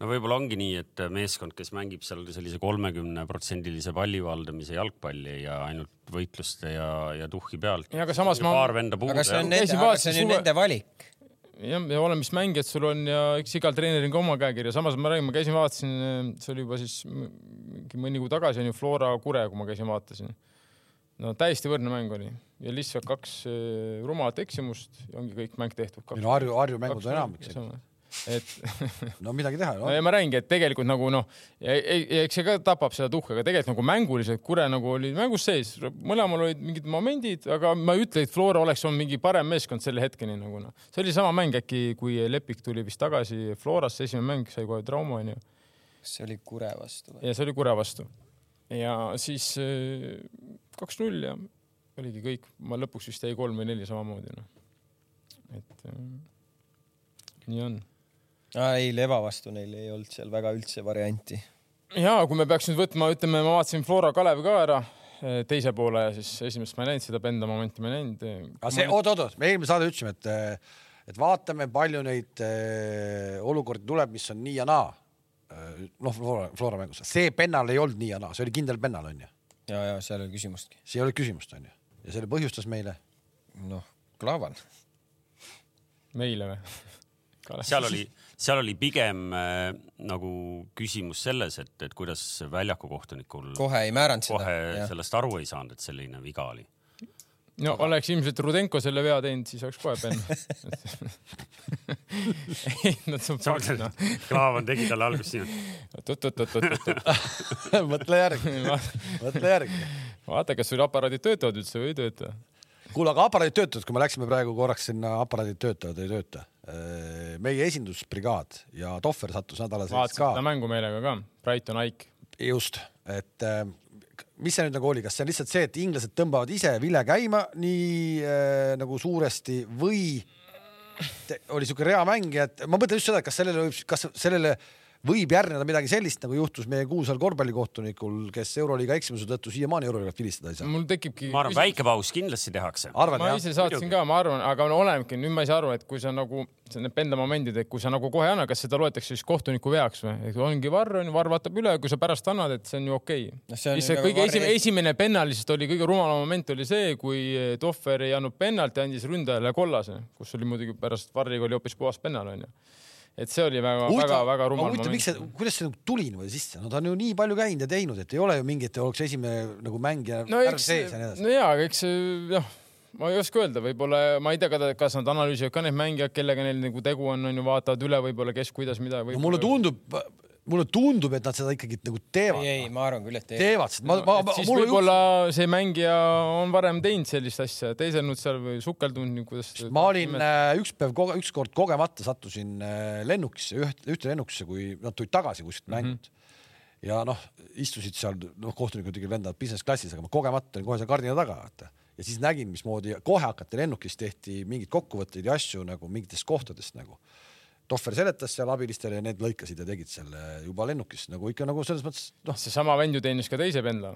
no võib-olla ongi nii , et meeskond , kes mängib seal sellise kolmekümneprotsendilise palli valdamise jalgpalli ja ainult võitluste ja , ja tuhhi pealt . Ja aga samas ma- paar venda puudu aga see on on... ne- nende , Käisin aga vaatasin see on ju suve- nende valik . jah , ja olemas mängijad sul on ja eks igal treeneril on ka oma käekiri ja samas ma räägin , ma käisin vaatasin , see oli juba siis m- mingi mõni kuu tagasi onju , Flora Kure , kui ma käisin vaatasin . no täiesti võrdne mäng oli ja lihtsalt kaks eh, rumalat eksimust ja ongi kõik mäng tehtud . no Harju , Harju mängud on enamik . et no midagi teha ei no ole . ja ma räägingi , et tegelikult nagu noh , eks see ka tapab seda tuhka , aga tegelikult nagu mänguliselt Kure nagu oli mängus sees , mõlemal olid mingid momendid , aga ma ei ütle , et Flora oleks olnud mingi parem meeskond selle hetkeni nagu noh . see oli sama mäng äkki , kui Lepik tuli vist tagasi Florasse , esimene mäng sai kohe trauma onju see oli Kure vastu või ? ja see oli Kure vastu . ja siis eh, kaks-null ja oligi kõik , ma lõpuks vist jäi kolm või neli samamoodi noh . et eh, nii on aa Ah, ei , Leva vastu neil ei olnud seal väga üldse varianti . ja kui me peaks nüüd võtma , ütleme , ma vaatasin Flora Kalev ka ära eh, teise poole ja siis esimest ma ei näinud , seda Benda momenti ma ei näinud . aga see , oot-oot-oot , me eelmine saade ütlesime , et , et vaatame , palju neid äh, olukordi tuleb , mis on nii ja naa . noh , Flora , Flora mängus , see pennal ei olnud nii ja naa , see oli kindel pennal onju , ja , ja seal ei ole küsimustki . see ei ole küsimust onju ja selle põhjustas meile noh , Klavan . meile või ? seal oli , seal oli pigem äh, nagu küsimus selles , et , et kuidas väljaku kohtunikul kohe ei määranud seda . kohe sellest aru ei saanud , et selline viga oli . no oleks ilmselt Rudenko selle vea teinud , siis oleks kohe penn . ei , nad saavad samas , pakkuda et . Klaavan tegi talle alguses nii , oot-oot-oot-oot-oot , mõtle järgi , mõtle järgi . vaata , kas sul aparaadid töötavad üldse või ei tööta . kuule , aga aparaadid töötavad , kui me läksime praegu korraks sinna , aparaadid töötavad , ei tööta . meie esindusbrigaad ja Tohver sattus nädala sees vaatasid seda ka . mängu meelega ka , Brighton Ike . just , et eh, mis see nüüd nagu oli , kas see on lihtsalt see , et inglased tõmbavad ise vile käima nii eh, nagu suuresti või te, oli niisugune rea mängija , et ma mõtlen just seda , et kas sellele võib , kas sellele võib järgneda midagi sellist , nagu juhtus meie kuulsal korvpallikohtunikul , kes Euroliiga eksimuse tõttu siiamaani Euroliigat vilistada ei saa . mul tekibki . ma arvan , väike paus kindlasti tehakse . arvan ma jah , ise saatsin ka , ma arvan , aga no olemegi , nüüd ma ei saa aru , et kui sa nagu , see on need enda momendid , et kui sa nagu kohe ei anna , kas seda loetakse siis kohtuniku veaks või ? et ongi varr , onju , varr vaatab üle , kui sa pärast annad , et see on ju okei Noh, see on okay. . ju see nagu kõige varri esimene , eest- esimene pennalist oli kõige rumalam moment oli see , kui eh, Tohver ei andnud pennalt ja andis ründajale kollase , kus oli muidugi pärast varri oli hoopis puhas pennal , onju . et see oli väga-väga-väga rumal huvitav , miks moment . see , kuidas see nagu tuli niimoodi sisse , no ta on ju nii palju käinud ja teinud , et ei ole ju mingit , oleks esimene nagu mängija no värv eks sees ja nii , edasi . no jaa , aga eks see- jah , ma ei oska öelda , võib-olla ma ei tea , kas nad analüüsivad ka need mängijad , kellega neil nagu tegu on , on ju , vaatavad üle võib-olla , kes kuidas mida võib no mulle tundub , mulle tundub , et nad seda ikkagi nagu teevad , ei , ei , ma arvan küll , et ei . teevad , sest ma , ma , siis mul oli , võib-olla see mängija on varem teinud sellist asja , teiselnud seal või sukeldunud , kuidas . ma olin äh, üks päev , ükskord kogemata sattusin äh, lennukisse , üht , ühte lennukisse , kui nad tulid tagasi kuskilt mängult mm . -hmm. ja noh , istusid seal , noh , kohtunikud ikkagi lendavad business klassis , aga ma kogemata olin kohe seal kardina taga , vaata . ja siis nägin , mismoodi kohe hakati lennukis , tehti mingeid kokkuvõtteid ja asju nagu mingitest kohtadest nagu Tohver seletas seal abilistele ja need lõikasid ja tegid selle juba lennukis nagu ikka nagu selles mõttes noh , seesama vend ju teenis ka teise pendla .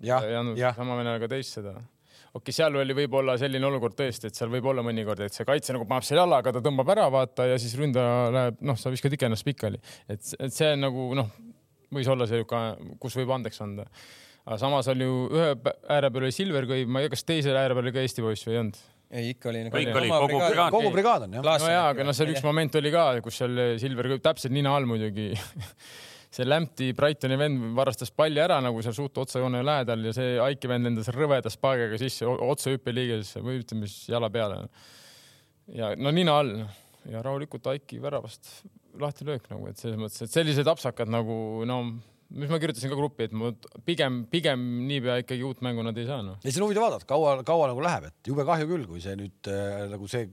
Jah, jah. Äh, sama venelane ka teist seda okei , seal oli võib-olla selline olukord tõesti , et seal võib olla mõnikord , et see kaitse nagu paneb selle jalaga , ta tõmbab ära , vaata ja siis ründaja läheb , noh , sa viskad ikka ennast pikali , et , et see on nagu noh , võis olla see , kus võib andeks anda . aga samas oli ju ühe pä- ääre peal oli Silver Kõiv , ma ei tea , kas teisel ääre peal oli ka Eesti poiss või ei olnud ei , ikka oli . nagu Kõik oli, kogu brigaad. kogu brigaad on jah . no jaa , aga noh , seal üks moment oli ka , kus seal Silver Kõiv täpselt nina all muidugi see Lämti Brightoni vend varastas palli ära nagu seal suht otsejoone lähedal ja see Aiki vend lendas rõveda spaagiga sisse o- otse hüppeliigesse või ütleme siis jala peale . ja no nina all ja rahulikult Aiki väravast lahti löök nagu , et selles mõttes , et sellised apsakad nagu no mis ma kirjutasin ka gruppi , et ma pigem , pigem niipea ikkagi uut mängu nad ei saa noh . ei , see on huvitav vaadata , kaua , kaua nagu läheb , et jube kahju küll , kui see nüüd äh, nagu see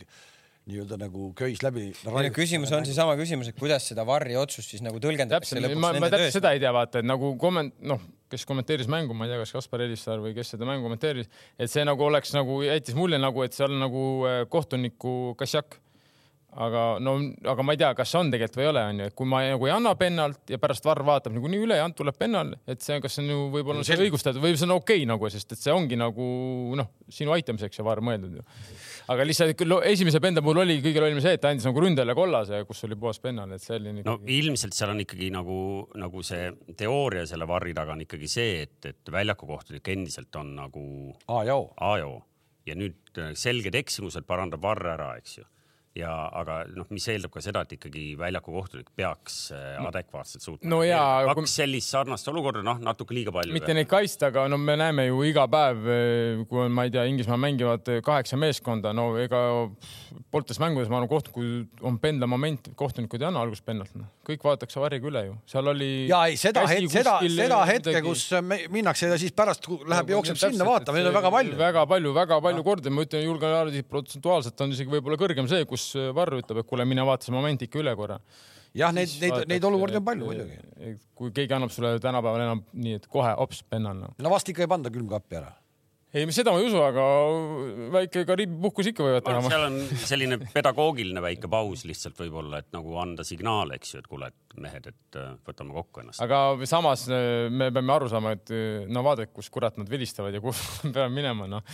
nii-öelda nagu köis läbi . küsimus on seesama küsimus , et kuidas seda varri otsust siis nagu tõlgendatakse täpselt , ma , lõpuks ma nende täpselt töös . seda ei tea , vaata , et nagu komment- , noh , kes kommenteeris mängu , ma ei tea , kas Kaspar Elissaar või kes seda mängu kommenteeris , et see nagu oleks nagu jättis mulje nagu , et seal on nagu eh, kohtuniku kassiak . aga no , aga ma ei tea , kas see on tegelikult või ei ole , onju , et kui ma nagu ei anna pennalt ja pärast varr vaatab niikuinii üle ja ant tuleb pennal , et see , kas see on ju võib-olla see õigustatud või see on okei okay, nagu , sest et see ongi nagu noh , sinu aitamiseks see varr mõeldud ju . aga lihtsalt küll lo- esimese penda puhul oli kõige lollim see , et ta andis nagu ründajale kollase , kus oli puhas pennal , et see oli no ikkagi- ilmselt seal on ikkagi nagu , nagu see teooria selle varri taga on ikkagi see , et , et väljaku kohtunik endiselt on nagu aa , jao . A ja O ja nüüd äh, selged eksimused parandab varr ära , eks ju . ja aga noh , mis eeldab ka seda , et ikkagi väljaku kohtunik peaks eh, adekvaatselt suutma . no jaa, aga kui- kaks sellist sarnast olukorda , noh , natuke liiga palju . mitte neid kaitsta , aga no me näeme ju iga päev , kui on , ma ei tea , Inglismaal mängivad eh, kaheksa meeskonda , no ega pooltes mängudes ma arvan , kohtunikud on pendla moment , kohtunikud ei anna alguses pennalt , noh , kõik vaadatakse varjaga üle ju , seal oli . eh, ja ei , seda hetke , seda , seda hetke , kus me, minnakse ja siis pärast ku- läheb , Nagu jookseb sinna , vaatame , neid on väga palju . Noh. väga palju , väga palju kordi , ma ütlen , julgen arvata , et protsentuaalselt on isegi võib-olla kõrgem see , kus Varro ütleb , et kuule , mine vaata see moment ikka üle korra jah , neid , neid , neid olukordi on palju muidugi . muidugi . kui keegi annab sulle tänapäeval enam nii , et kohe hops pennal , noh . no vast ikka ei panda külmkappi ära . ei , seda ma ei usu , aga väike Kariibi puhkus ikka võivad ma arvan , teha . seal on selline pedagoogiline väike paus lihtsalt võib-olla , et nagu anda signaal , eks ju , et kuule , et mehed , et eh, võtame kokku ennast . aga samas äh, me peame aru saama , et äh, no vaadake , kus kurat nad vilistavad ja kuhu me peame minema , noh .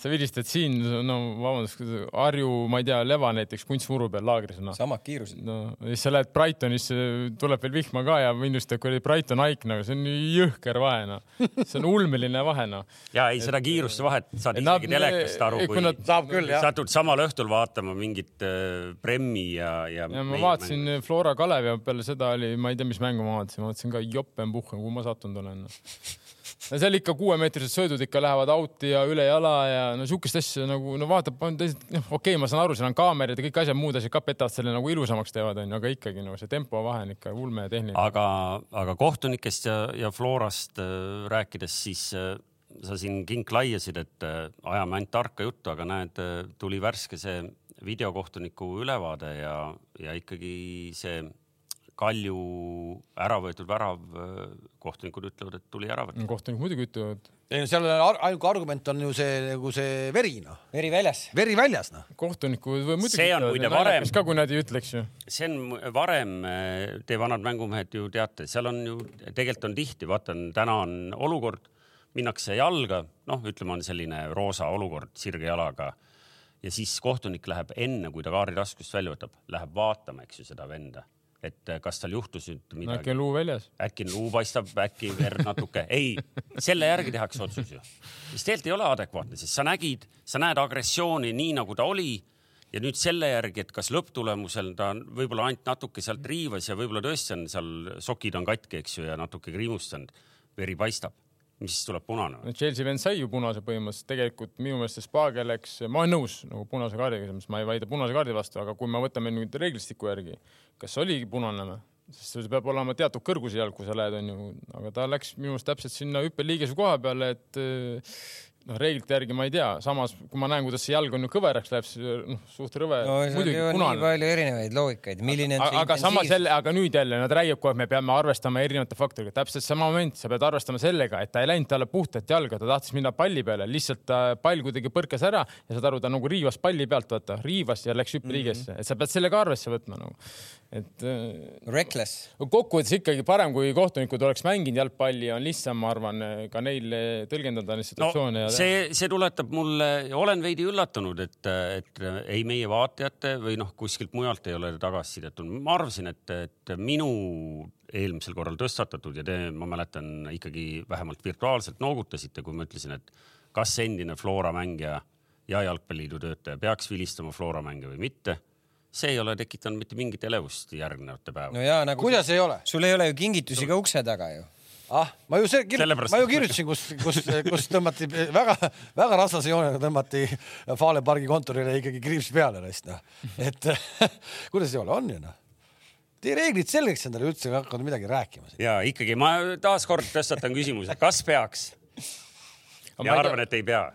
sa vilistad siin , no vabandust , Harju , ma ei tea , Leva näiteks kunstmuru peal laagris , noh . samad kiirused . no ja siis sa lähed Brightonisse , tuleb veel vihma ka ja minu arust , et kuradi Brighton haik , no see on nii jõhker vahe , noh . see on ulmeline vahe , noh . ja ei , seda kiiruste vahet saad Ei, nad- isegi telekast aru ei, , kui kui nad- saab küll jah . satud samal õhtul vaatama mingit äh, Premmi ja , ja . ja ma vaatasin . Flora Kalevi peale seda oli , ma ei tea , mis mängu ma vaatasin , ma vaatasin ka jopem puhkem , kuhu ma sattunud olen . no seal ikka kuuemeetrised sõidud ikka lähevad out'i ja üle jala ja no siukest asja nagu no vaatab , noh okei , ma saan aru , seal on kaamerad ja kõik asjad , muud asjad ka petavad selle nagu ilusamaks teevad onju , aga ikkagi no see tempo vahe on ikka ulme ja tehniline . aga , aga kohtunikest ja , ja Florast äh, rääkides , siis äh, sa siin kinklaiasid , et äh, ajame ainult tarka juttu , aga näed , tuli värske see videokohtuniku ülevaade ja , ja ikkagi see Kalju ära võetud värav , kohtunikud ütlevad , et tuli ära võtta . kohtunik muidugi ütlevad , ei no seal on ar- ainuke argument on ju see nagu see veri noh , veri väljas . veri väljas noh . kohtunikud või muidugi . See on muide varem. ka , kui nad ei ütleks ju . see on mu- varem , te vanad mängumehed ju teate , seal on ju tegelikult on tihti , vaatan , täna on olukord , minnakse jalga , noh , ütleme , on selline roosa olukord sirge jalaga ja siis kohtunik läheb enne , kui ta kaardi raskust välja võtab , läheb vaatama , eks ju , seda venda , et äh, kas tal juhtus nüüd no äkki midagi , on luu väljas . äkki luu paistab , äkki verd natuke , ei , selle järgi tehakse otsus ju . mis tegelikult ei ole adekvaatne , sest sa nägid , sa näed agressiooni nii nagu ta oli ja nüüd selle järgi , et kas lõpptulemusel ta on võib-olla ainult natuke sealt riivas ja võib-olla tõesti on seal sokid on katki , eks ju , ja natuke kriimustanud , veri paistab , mis siis tuleb punane või ? no Chelsea vend sai ju punase põhimõtteliselt , tegelikult minu meelest see Spage läks , ma olen nõus nagu punase kaardiga , selles mõttes ma ei vaidle punase kaardi vastu , aga kui me võtame nüüd reeglistiku järgi , kas oligi punane või ? sest see peab olema teatud kõrguse jalg , kui sa lähed , onju , aga ta läks minu meelest täpselt sinna hüppeliigese koha peale , et eh, noh , reeglite järgi ma ei tea , samas kui ma näen , kuidas see jalg on ju kõveraks läheb , siis noh , suht rõve no no, , seal muidugi ju on nii punane . palju erinevaid loogikaid , milline on aga, see aga samas intensiivsus . jälle , aga nüüd jälle nad räägivad kohe , et me peame arvestama erinevate faktoriga , täpselt sama moment , sa pead arvestama sellega , et ta ei läinud talle puhtalt jalga , ta tahtis minna palli peale , lihtsalt äh, pall kuidagi põrkas ära ja saad aru , ta nagu riivas palli pealt , vaata , riivas ja läks hüppeliigesse , et sa pead selle ka arvesse võtma nagu , et äh, Reckless . kokkuvõttes ikkagi parem , kui kohtunikud oleks mänginud jalgpalli , on lihtsam , ma arvan , ka neil äh, tõlgendada no neid situatsioone ja see , see tuletab mulle , olen veidi üllatunud , et , et ei meie vaatajate või noh , kuskilt mujalt ei ole tagasisidet tulnud . ma arvasin , et , et minu eelmisel korral tõstatatud ja te , ma mäletan ikkagi vähemalt virtuaalselt noogutasite , kui ma ütlesin , et kas endine Flora mängija ja Jalgpalliliidu töötaja peaks vilistama Flora mänge või mitte . see ei ole tekitanud mitte mingit elevust järgnevate päevade no ja nagu . kuidas ei ole ? sul ei ole ju kingitusi ka ukse taga ju . ah , ma ju see kirjut- Sellepärast- , ma ju kirjutasin , kus , kus , kus tõmmati väga-väga rasvase joonega tõmmati Fale pargi kontorile ikkagi kriips peale neist noh , et kuidas ei ole , on ju noh . Teie reeglid selgeks endale üldse ei hakanud midagi rääkima siin . ja ikkagi ma taaskord tõstatan küsimuse , kas peaks ? ja arvan , et ei pea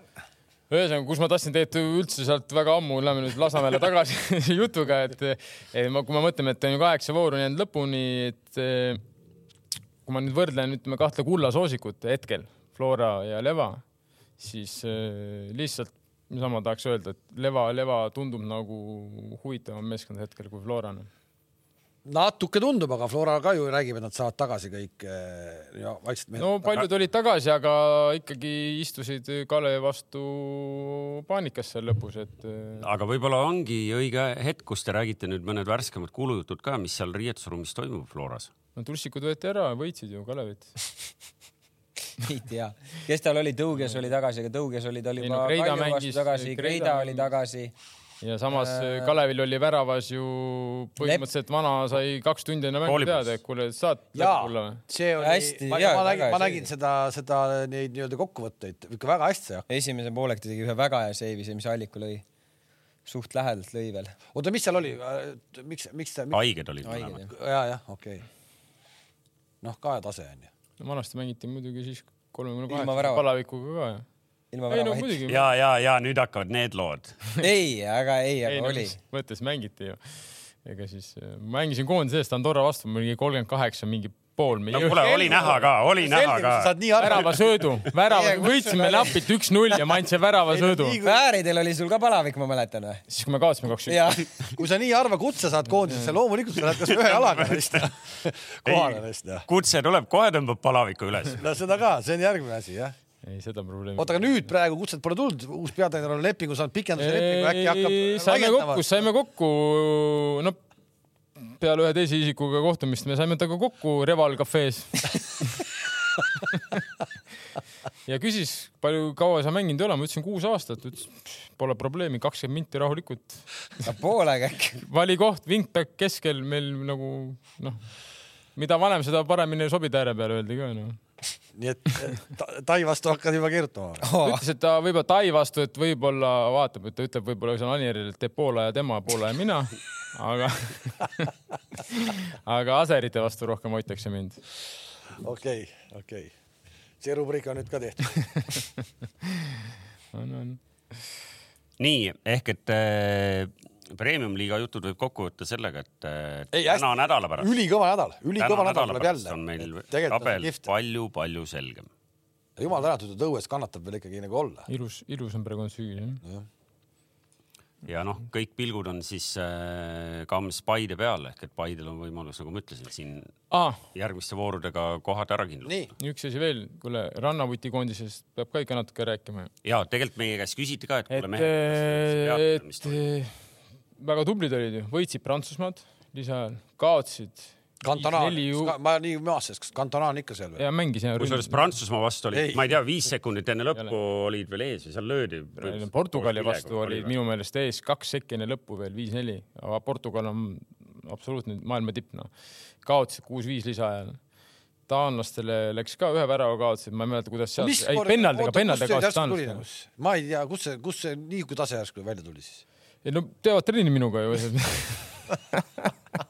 ühesõnaga , kus ma tahtsin tegelikult üldse sealt väga ammu , lähme nüüd Lasnamäele tagasi jutuga , et eh, ma , kui me mõtleme , et on ju kaheksa vooru jäänud lõpuni , et eh, kui ma nüüd võrdlen , ütleme kahte kullasoosikut hetkel , Flora ja Leva , siis eh, lihtsalt niisama tahaks öelda , et Leva , Leva tundub nagu huvitavam meeskond hetkel kui Flora . natuke tundub , aga Flora ka ju räägib , et nad saavad tagasi kõik eh, ja vaikselt mehed no paljud olid tagasi , aga ikkagi istusid Kalevi vastu paanikas seal lõpus , et eh, aga võib-olla ongi õige hetk , kus te räägite nüüd mõned värskemad kuulujutud ka , mis seal riietusruumis toimub Floras . no tulssikud võeti ära , võitsid ju Kalevit ei tea , kes tal oli , Tõuges oli tagasi , aga Tõuges oli tal Ei juba no Kreida Kalju vastu mängis- tagasi , Kreida Kreida mängis- oli tagasi . ja samas äh... Kalevil oli väravas ju põhimõtteliselt vana sai kaks tundi enne mängu Koolipoiss. teada , et kuule , saad jaa lõpule , see oli , Hästi, ma, jaa, ma nägin , väga ma hästi. nägin seda , seda neid nii-öelda kokkuvõtteid ikka väga hästi sai . esimese poolek ta tegi ühe väga hea seivi , see , mis Alliku lõi . suht lähedalt lõi veel . oota , mis seal oli , miks , miks ta , haiged olid mõlemad . ja jah , okei okay. . noh , kahe tase on ju . no, . vanasti mängiti muidugi siis kolmekümne Ilma kaheksa värava- palavikuga ka ju . ilma ei no väravahit . muidugi , ja , ja , ja nüüd hakkavad need lood . ei , aga ei , ei aga no oli mis . mõttes mängiti ju . ega siis äh, mängisin koondise eest Andorra vastu , mul oli kolmkümmend kaheksa mingi pool . no kuule , oli näha ka , oli näha ka . saad nii aru , väravasõõdu , värava Ei, , kus võitsime napilt üks-null ja ma andsin väravasõõdu . Fääridel oli sul ka palavik , ma mäletan või ? siis kui me kaotasime kaks-üks . jah , kui sa nii harva kutse saad koondisesse , loomulikult sa lähed kas ühe jalaga neist kohale neist noh . kutse tuleb , kohe tõmbab palaviku üles . no seda ka , see on järgmine asi jah . ei , seda probleemi . oota , aga nüüd praegu kutset pole tulnud , uus peatreener on lepingu saanud , pikenduse lepingu , äkki Ei, hakkab saime kokku , saime kokku , no peale ühe teise isikuga kohtumist me saime temaga kokku Reval Cafe's . ja küsis , palju kaua sa mänginud ei ole , ma ütlesin kuus aastat , ütles "Pff, pole probleemi , kakskümmend minti rahulikult , poolega äkki . vali koht , vintpäkk keskel meil nagu noh , mida vanem , seda paremini sobid ääre peale , öeldi ka noh . nii et eh, ta- Tai vastu hakkad juba kirjutama . ütles , et ta võib-olla Tai vastu , et võib-olla vaatab , et ta ütleb võib-olla seal Anierile , et teeb Poola ja tema , Poola ja mina , aga aga aserite vastu rohkem hoitakse mind . okei , okei . see rubriik on nüüd ka tehtud . on , on . nii ehk et äh, premium-liiga jutud võib kokku võtta sellega , et äh, Ei, hästi- täna on nädala pärast . ülikõva nädal , ülikõva nädal tuleb jälle . on meil tegelikult on tabel see kihvt . palju-palju selgem . jumal tänatud , et õues kannatab veel ikkagi nagu olla . ilus , ilus on praegu on süü jah . ja noh , kõik pilgud on siis äh, kamms Paide peal ehk et Paidel on võimalus , nagu ma ütlesin , siin aa , järgmiste voorudega kohad ära kindlustada . nii , üks asi veel , kuule Rannavuti koondisest peab ka ikka natuke rääkima ju . ja tegelikult meie käest küsiti ka , et et kuule , mehed , mis et toimub . väga tublid olid ju , võitsid Prantsusmaad lisaajal , kaotsid . Cantona neli , ju- ma nii maastas , kas Cantona on ikka seal või ? ja mängis jah . kusjuures Prantsusmaa vastu oli Ei. , ma ei tea , viis sekundit enne lõppu olid veel ees ja seal löödi . Portugali vastu oli minu meelest ees kaks sekki enne lõppu veel viis-neli , aga Portugal on absoluutne maailma tipp , noh . kaotasid kuus-viis lisaajal . taanlastele läks ka ühe värava kaotasid , ma ei mäleta , kuidas seal . ei , pennaldega , pennaldega kaotasid taanlastele . ma ei tea , kus see , kus see niisugune tase järsku välja tuli siis ? ei no teevad trenni minuga ju .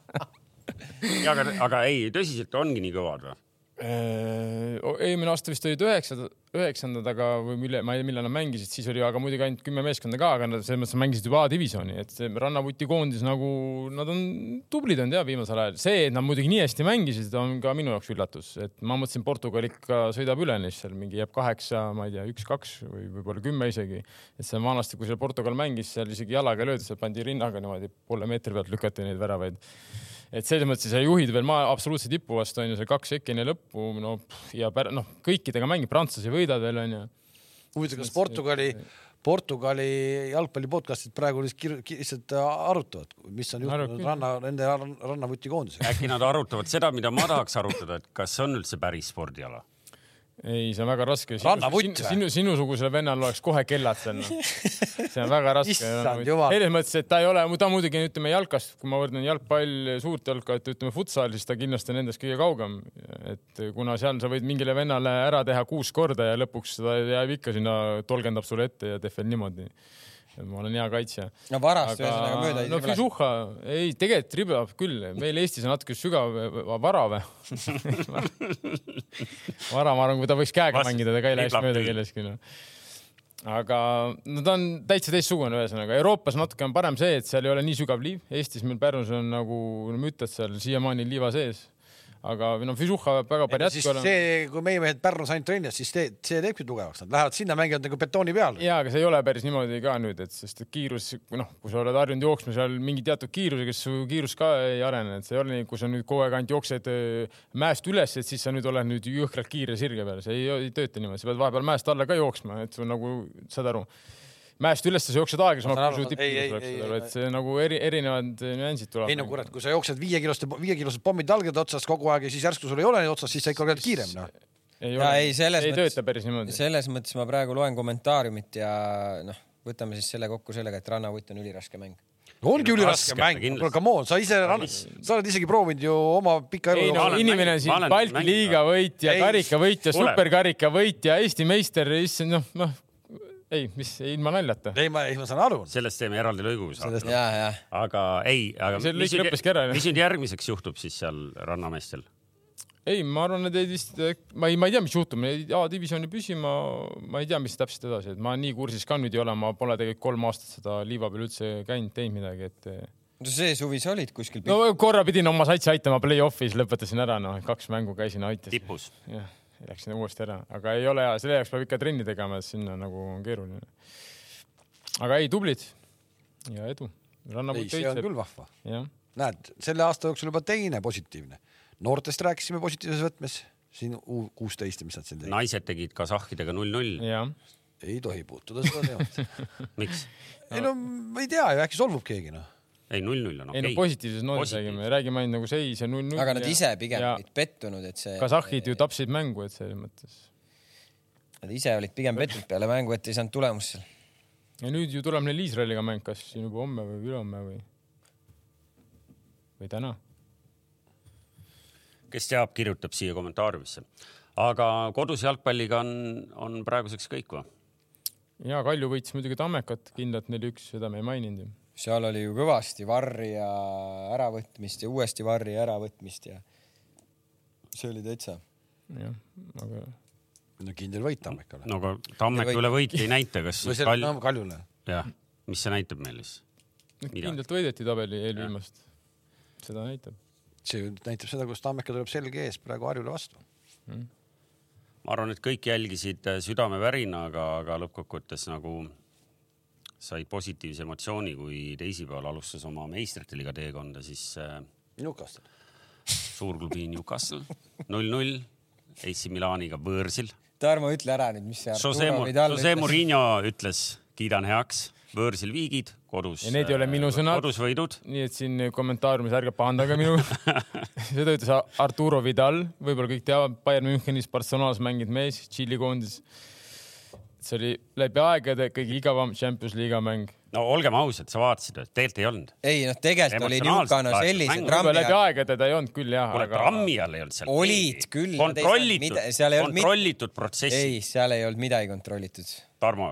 ja aga , aga ei , tõsiselt ongi nii kõvad või ? Äh, eelmine aasta vist olid üheksad , üheksandad , aga või mille , ma ei tea , millal nad mängisid , siis oli aga muidugi ainult kümme meeskonda ka , aga nad selles mõttes mängisid juba A-divisjoni , et see Rannavuti koondis nagu nad on tublid olnud ja viimasel ajal . see , et nad muidugi nii hästi mängisid , on ka minu jaoks üllatus , et ma mõtlesin , Portugal ikka sõidab üle neist seal mingi jääb kaheksa , ma ei tea , üks-kaks või võib-olla kümme isegi . et see on vanasti , kui seal Portugal mängis , seal isegi jalaga ei löödud , seal pandi rinnaga niimoodi poole meetri pealt lükati neid väravaid et selles mõttes sa juhid veel maa absoluutse tipu vastu onju , see kaks sekki enne lõppu , no pff, ja pär- noh , kõikidega mängib , prantslasi võidad veel onju . huvitav , kas Portugali , Portugali jalgpalli podcast'id praegu lihtsalt kir- ki- lihtsalt äh, arutavad , mis on Arutavad juhtunud küll. ranna , nende rann- rannavutikoondisega ? äkki nad arutavad seda , mida ma tahaks arutada , et kas see on üldse päris spordiala ? ei , see on väga raske . Rannavutt või? sinu , sinusugusel vennal oleks kohe kellad seal no. . see on väga raske . Issand jumal. selles mõttes , et ta ei ole , ta muidugi ütleme jalkast , kui ma võrdlen jalgpall , suurt jalka , et ütleme futsal , siis ta kindlasti on endast kõige kaugem . et kuna seal sa võid mingile vennale ära teha kuus korda ja lõpuks ta jääb ikka sinna , tolgendab sulle ette ja teeb veel niimoodi . ma olen hea kaitsja no varast ühesõnaga mööda ei no Fisuha , ei tegelikult ribab küll , meil Eestis on natuke sügav va- varave . vara , ma arvan , kui ta võiks käega Vastus- mängida , ta ka ei läheks ribab mööda küll. kellestki no. aga no ta on täitsa teistsugune , ühesõnaga Euroopas natuke on parem see , et seal ei ole nii sügav liiv , Eestis meil Pärnus on nagu no, müttad seal siiamaani liiva sees , aga no Fisuha peab väga palju siis jätku olema . see , kui meie mehed Pärnus ainult trennis , siis see , see teebki tugevaks , nad lähevad sinna , mängivad nagu betooni peal . ja , aga see ei ole päris niimoodi ka nüüd , et sest et kiirus , noh , kui sa oled harjunud jooksma seal mingi teatud kiirusega , siis su kiirus ka ei arene , et see ei ole nii , kui sa nüüd kogu aeg ainult jooksed öö, mäest üles , et siis sa nüüd oled nüüd jõhkralt kiire sirge peal , see ei, ei tööta niimoodi , sa pead vahepeal mäest alla ka jooksma , et sul nagu , saad aru , mäest üles sa jooksed Ma saan aeglasemalt , aru, kui su ei, ei, tippkiirus oleks , ei, saad aru , ei, et see nagu eri , erinevad nüansid nagu. tulevad . ei nagu- no kurat , kui sa jooksed viiekiloste , viiekilosed pommid jalgade otsas kogu aeg ja siis järsku sul ei ole neid otsas , siis sa ikka oled kiirem noh . ei Jaa, ei, selles ei mõttes- tööta päris niimoodi . selles mõttes ma praegu loen kommentaariumit ja noh , võtame siis selle kokku sellega , et Rannavutt on üliraske mäng . ongi Ei no üliraske raske, mäng , kindlasti. kuule come on , sa ise , sa oled isegi proovinud ju oma pika elu ei no ma olen inimene mänginud- siin ma olen Balti mänginud. liiga võitja Ei. , karika võitja , Pole. superkarika võitja , Eesti meister , issand noh , noh ei , mis ei, ilma naljata . ei , ma , ei ma saan aru . sellest teeme eraldi lõigu . Sellest- ja , ja aga ei , aga See mis lõik nüüd- lõppeski ära, jah. mis nüüd järgmiseks juhtub siis seal rannameestel ? ei , ma arvan , nad jäid vist , ma ei , ma ei tea , mis juhtub , A-divisjoni püsima , ma ei tea , mis täpselt edasi , et ma nii kursis ka nüüd ei ole , ma pole tegelikult kolm aastat seda liiva peal üldse käinud , teinud midagi , et no see suvi sa olid kuskil no korra pidin oma satsi aitama play-off'is , lõpetasin ära , noh , kaks mängu käisin , aitasin . tipus . jah , läksin uuesti ära , aga ei ole hea , selle jaoks peab ikka trenni tegema , et sinna nagu on keeruline . aga ei , tublid ja edu . Nagu ei , see on küll vahva . jah , näed , selle aasta jooksul juba teine positiivne . noortest rääkisime positiivses võtmes , siin U kuusteist , mis nad siin tegid . naised tegid kasahhidega null-null . jah . ei tohi puutuda seda teemat . miks ? ei no ma ei tea ju , äkki solvub keegi noh . ei , null-null on ei no okei okay. . positiivses noodis Positiivses. räägime , räägime ainult nagu seis ja null-null . aga nad ise pigem ja olid pettunud , et see , kasahhid ju tapsid mängu , et selles mõttes . Nad ise olid pigem petnud peale mängu , et ei saanud tulemust seal . ja nüüd ju tuleb neil Iisraeliga mäng , kas siin juba homme või ülehomme või , või täna . kes teab , kirjutab siia kommentaariumisse . aga kodus jalgpalliga on , on praeguseks kõik või ? ja Kalju võitis muidugi Tammekat kindlalt neli-üks , seda me ei maininud ju . seal oli ju kõvasti varri ja äravõtmist ja uuesti varri ja äravõtmist ja see oli täitsa . jah , aga no kindel võit Tammekale . no aga Tammeka Või- üle võit ei näita , kas või siis selle Kalju no, , Kaljule . jah , mis see näitab meile siis ? Mida? Noh, kindlalt võideti tabeli eelviimast . seda näitab . see ju näitab seda , kuidas Tammeka tuleb selge ees praegu Harjule vastu . Mm. ma arvan , et kõik jälgisid äh, südamevärinaga , aga lõppkokkuvõttes nagu said positiivse emotsiooni , kui teisipäeval alustas oma meistrite liiga teekonda , siis äh, Newcastle . suurklubi Newcastle null-null AC Milaniga võõrsil . Tarmo , ütle ära nüüd , mis see Jose Arturo Mu- Vidal Jose Mourinho ütles , kiidan heaks , võõrsil viigid , kodus . Ja need ei ole minu sõnad. kodus võidud . nii et siin kommentaariumis ärge pahandage minuga . seda ütles Arturo Vidal , võib-olla kõik teavad , Bayern Münchenis Barcelonas mänginud mees , Tšiili koondis . see oli läbi aegade kõige igavam Champions liiga mäng . no olgem ausad , sa vaatasid , tegelikult ei olnud . ei noh , tegelikult oli Emotsionaalselt Newcastle laetud sellised mäng. trammi läbi all aegade ta ei olnud küll jah , kuule , aga trammi all ei olnud seal . Olid küll, nad ei saanud kontrollitud mida- , seal ei olnud mid- kontrollitud protsessi . ei , seal ei olnud midagi kontrollitud . Tarmo ,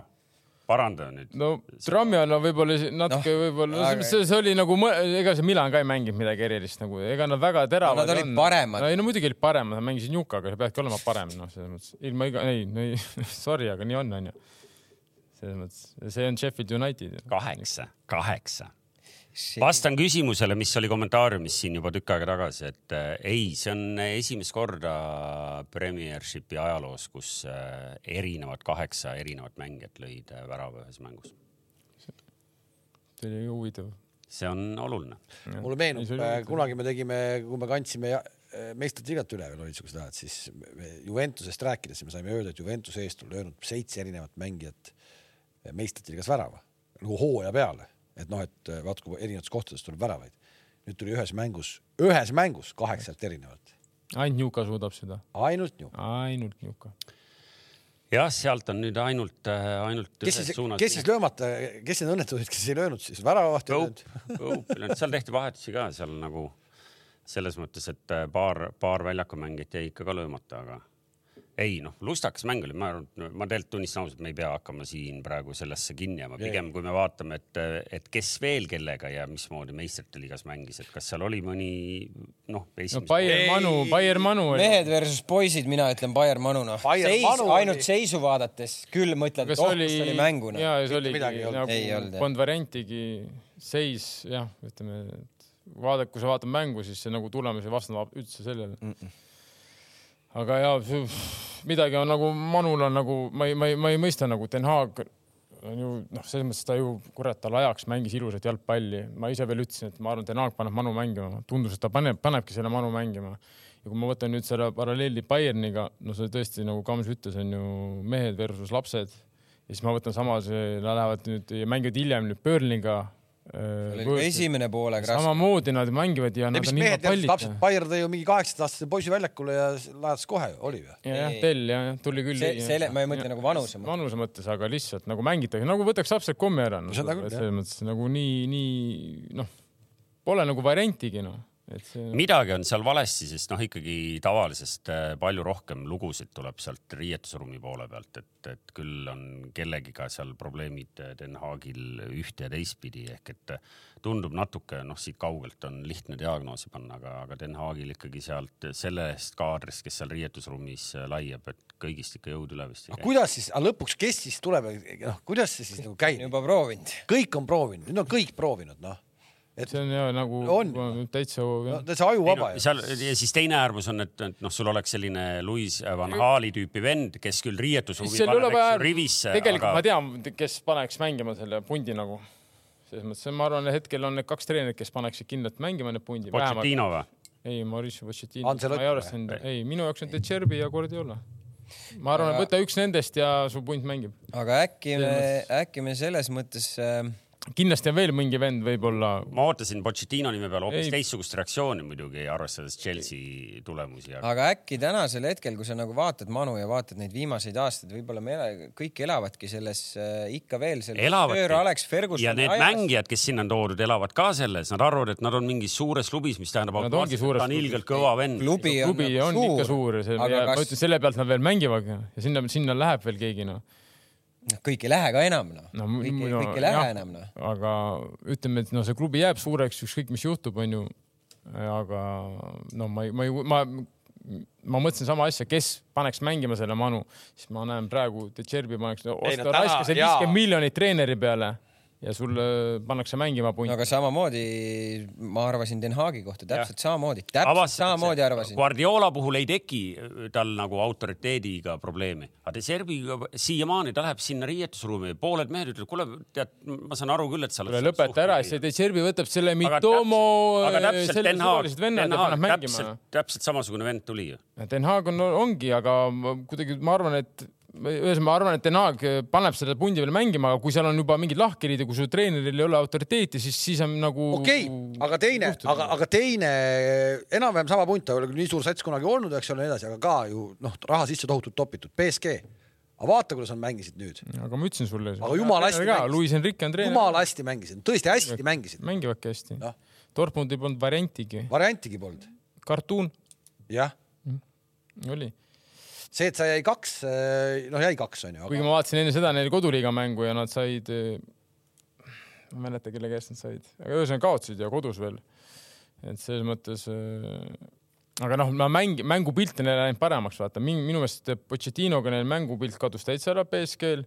paranda nüüd . no trammi all on võib-olla isi- natuke Noh, no, võib-olla aga- no, , see, see oli nagu , ega see Milan ka ei mänginud midagi erilist nagu , ega nad väga teravad . nad olid paremad. ei no muidugi olid paremad , nad mängisid Jukaga , sa peadki olema parem , noh , selles mõttes ilma iga , ei , no ei , sorry , aga nii on , onju . selles mõttes , see on Sheffield United . kaheksa , kaheksa . vastan küsimusele , mis oli kommentaariumis siin juba tükk aega tagasi , et äh, ei , see on esimest korda Premiershipi ajaloos , kus äh, erinevad kaheksa erinevat mängijat lõid äh, värava ühes mängus . see oli ju huvitav . see on oluline . mulle meenub äh, Ei, see , oli huvitav. kunagi me tegime , kui me kandsime ja- äh, meistrite liigat üle veel olid siuksed ajad , siis me- me Juventusest rääkides me saime öelda , et Juventuse eest on löönud seitse erinevat mängijat meistrite liigas värava nagu hooaja peale , et noh , et äh, vaat kui erinevatest kohtadest tuleb väravaid . nüüd tuli ühes mängus , ühes mängus kaheksalt erinevat , ainult Juka suudab seda , ainult ju . ainult Juka . jah , sealt on nüüd ainult , ainult kes siis , kes siis löömata , kes need õnnetud olid , kes ei löönud siis väravavaht ei löönud Cope , Cope , seal tehti vahetusi ka seal nagu selles mõttes , et äh, paar , paar väljakumängijat jäi ikka ka löömata , aga ei noh , lustakas mäng oli , ma arvan , ma tegelikult tunnistan ausalt , me ei pea hakkama siin praegu sellesse kinni jääma , pigem kui me vaatame , et , et kes veel kellega ja mismoodi meistrite liigas mängis , et kas seal oli mõni noh , no esimene no, Bayern Manu , Bayern Manu oli . mehed versus poisid , mina ütlen Bayern Manuna . Bayern seis , Manu oli- ainult seisu vaadates küll mõtled , kas et oh , kas see oli mänguna . jaa , see Mitte oligi midagi ei olnud. nagu Ei olnud, jah. polnud variantigi , seis jah , ütleme , et vaadake , kui sa vaatad mängu , siis see nagu tulemus ei vastanud üldse sellele mm . -mm. aga jaa , midagi on nagu , Manul on nagu , ma ei , ma ei , ma ei mõista nagu Den Haag on ju noh , selles mõttes ta ju kurat , tal ajaks mängis ilusat jalgpalli , ma ise veel ütlesin , et ma arvan , Den Haag paneb Manu mängima , tundus , et ta paneb , panebki selle Manu mängima . ja kui ma võtan nüüd selle paralleeli Bayerniga , no see tõesti nagu Kams ütles , on ju mehed versus lapsed ja siis ma võtan sama , see nad lähevad nüüd ja mängivad hiljem nüüd Berliga . esimene poolega raske . samamoodi nad mängivad ja ja nad mis on ilma mehed järsku pallita lapsed , Bayer tõi ju mingi kaheksateistaastase poisi väljakule ja lajatas kohe , oli või ? ja jah , tell ja jah, tuli küll . see , selle , ma ei mõtle nagu vanuse mõttes . vanuse mõttes , aga lihtsalt nagu mängitakse , nagu võtaks lapsed kommi ära no, . Seda küll, selles mõttes nagu nii , nii noh , pole nagu variantigi noh , et see . midagi on seal valesti , sest noh , ikkagi tavalisest äh, palju rohkem lugusid tuleb sealt riietusruumi poole pealt , et , et küll on kellegiga seal probleemid äh, Den Haagil ühte ja teistpidi ehk et äh, tundub natuke noh , siit kaugelt on lihtne diagnoosi panna , aga , aga Den Haagil ikkagi sealt sellest kaadrist , kes seal riietusruumis äh, laiab , et kõigist ikka jõud üle vist ei aga käi . kuidas siis , aga lõpuks , kes siis tuleb , noh , kuidas see siis nagu käib ? juba proovinud . kõik on proovinud , nüüd on kõik proovinud , noh . et see on ja nagu On. täitsa no, no, . ta- see Ei No, ajuvaba ju . seal ja siis teine äärmus on , et , et noh , sul oleks selline Louis Van Hali tüüpi vend , kes küll riietusruumi seal üle paneb, eks ju, äh, vaja , rivisse , tegelikult aga... ma tean , kes paneks mängima selle pundi nagu . selles mõttes , ma arvan , hetkel on need kaks treenerit , kes paneksid kindlalt mängima need pundi . Pochettino või ? ei , Mauricio Pochettino , Ancelotti ma ei arvestanud , ei , minu jaoks on De Cerbi ja Guardiola . ma arvan , et võta üks nendest ja su punt mängib . aga äkki me , äkki me selles mõttes äh, kindlasti on veel mingi vend võib-olla , ma ootasin Pochettino nime peale hoopis Ei. teistsugust reaktsiooni muidugi , arvestades Chelsea tulemusi , aga aga äkki tänasel hetkel , kui sa nagu vaatad Manu ja vaatad neid viimaseid aastaid , võib-olla me ela- kõik elavadki selles äh, ikka veel selles . elavad Alex Ferguson . ja need ajas. . mängijad , kes sinna on toodud , elavad ka selles , nad arvavad , et nad on mingis suures klubis , mis tähendab Nad automaatselt , ongi suures et ta on klubis. ilgelt kõva vend . klubi on, klubi on, on nagu ikka suur ja see , aga ma kas ütlen , selle pealt nad veel mängivadki noh. ja sinna , sinna läheb veel keegi noh . noh, kõik ei lähe ka enam noh no, , mu- kõik, mu- no, no, kõik ei lähe jah. enam noh . aga ütleme , et no see klubi jääb suureks , ükskõik mis juhtub , onju . aga no ma ei , ma ei , ma , ma mõtlesin sama asja , kes paneks mängima selle Manu , siis ma näen praegu , et Tšerbi paneks , Ei, no osta täna- raiska see jaa. viiskümmend miljonit treeneri peale ja sulle pannakse mängima punt no no, . aga samamoodi ma arvasin Den Haagi kohta täpselt ja. samamoodi , täpselt Avast, samamoodi arvasin . Guardiola puhul ei teki tal nagu autoriteediga probleemi , aga De Serbi siiamaani ta läheb sinna riietusruumi , pooled mehed ütlevad , kuule , tead , ma saan aru küll , et sa oled . lõpeta ära , siis Tšerbi võtab selle Aga Mitomo , täpselt- aga täpselt selle Den Haag , suvalised vennad ja paneb mängima täpselt , täpselt samasugune vend tuli ju . Ja Den Haag on , ongi , aga ma kuidagi ma arvan , et ühesõnaga ma arvan , et Den Haag äh, paneb selle pundi veel mängima , aga kui seal on juba mingid lahkhelid ja kui su treeneril ei ole autoriteeti , siis , siis on nagu . okei okay, , aga teine , aga , aga teine enam-vähem sama punt , ta ei ole küll nii suur sats kunagi olnud , eks ole , nii edasi , aga ka ju noh , raha sisse tohutult topitud , BSG . aga vaata , kuidas nad mängisid nüüd , aga ma ütlesin sulle . Aga jumala hästi mängis. Luis Henrique on treener , jumala hästi mängisid , tõesti hästi mängisid , mängivadki hästi Noh. no. . Dortmundi polnud variantigi , variantigi polnud , kartuun jah . oli , see , et sa jäi kaks , noh jäi kaks on ju , kuigi aga ma vaatasin enne seda neil koduliiga mängu ja nad said , ma ei mäleta , kelle käest nad said , aga ühesõnaga kaotsid ja kodus veel . et selles mõttes äh, aga noh , ma mäng , mängupilt on neil läinud paremaks , vaata minu, minu meelest Pochettinoga neil mängupilt kadus täitsa ära BSG-l ,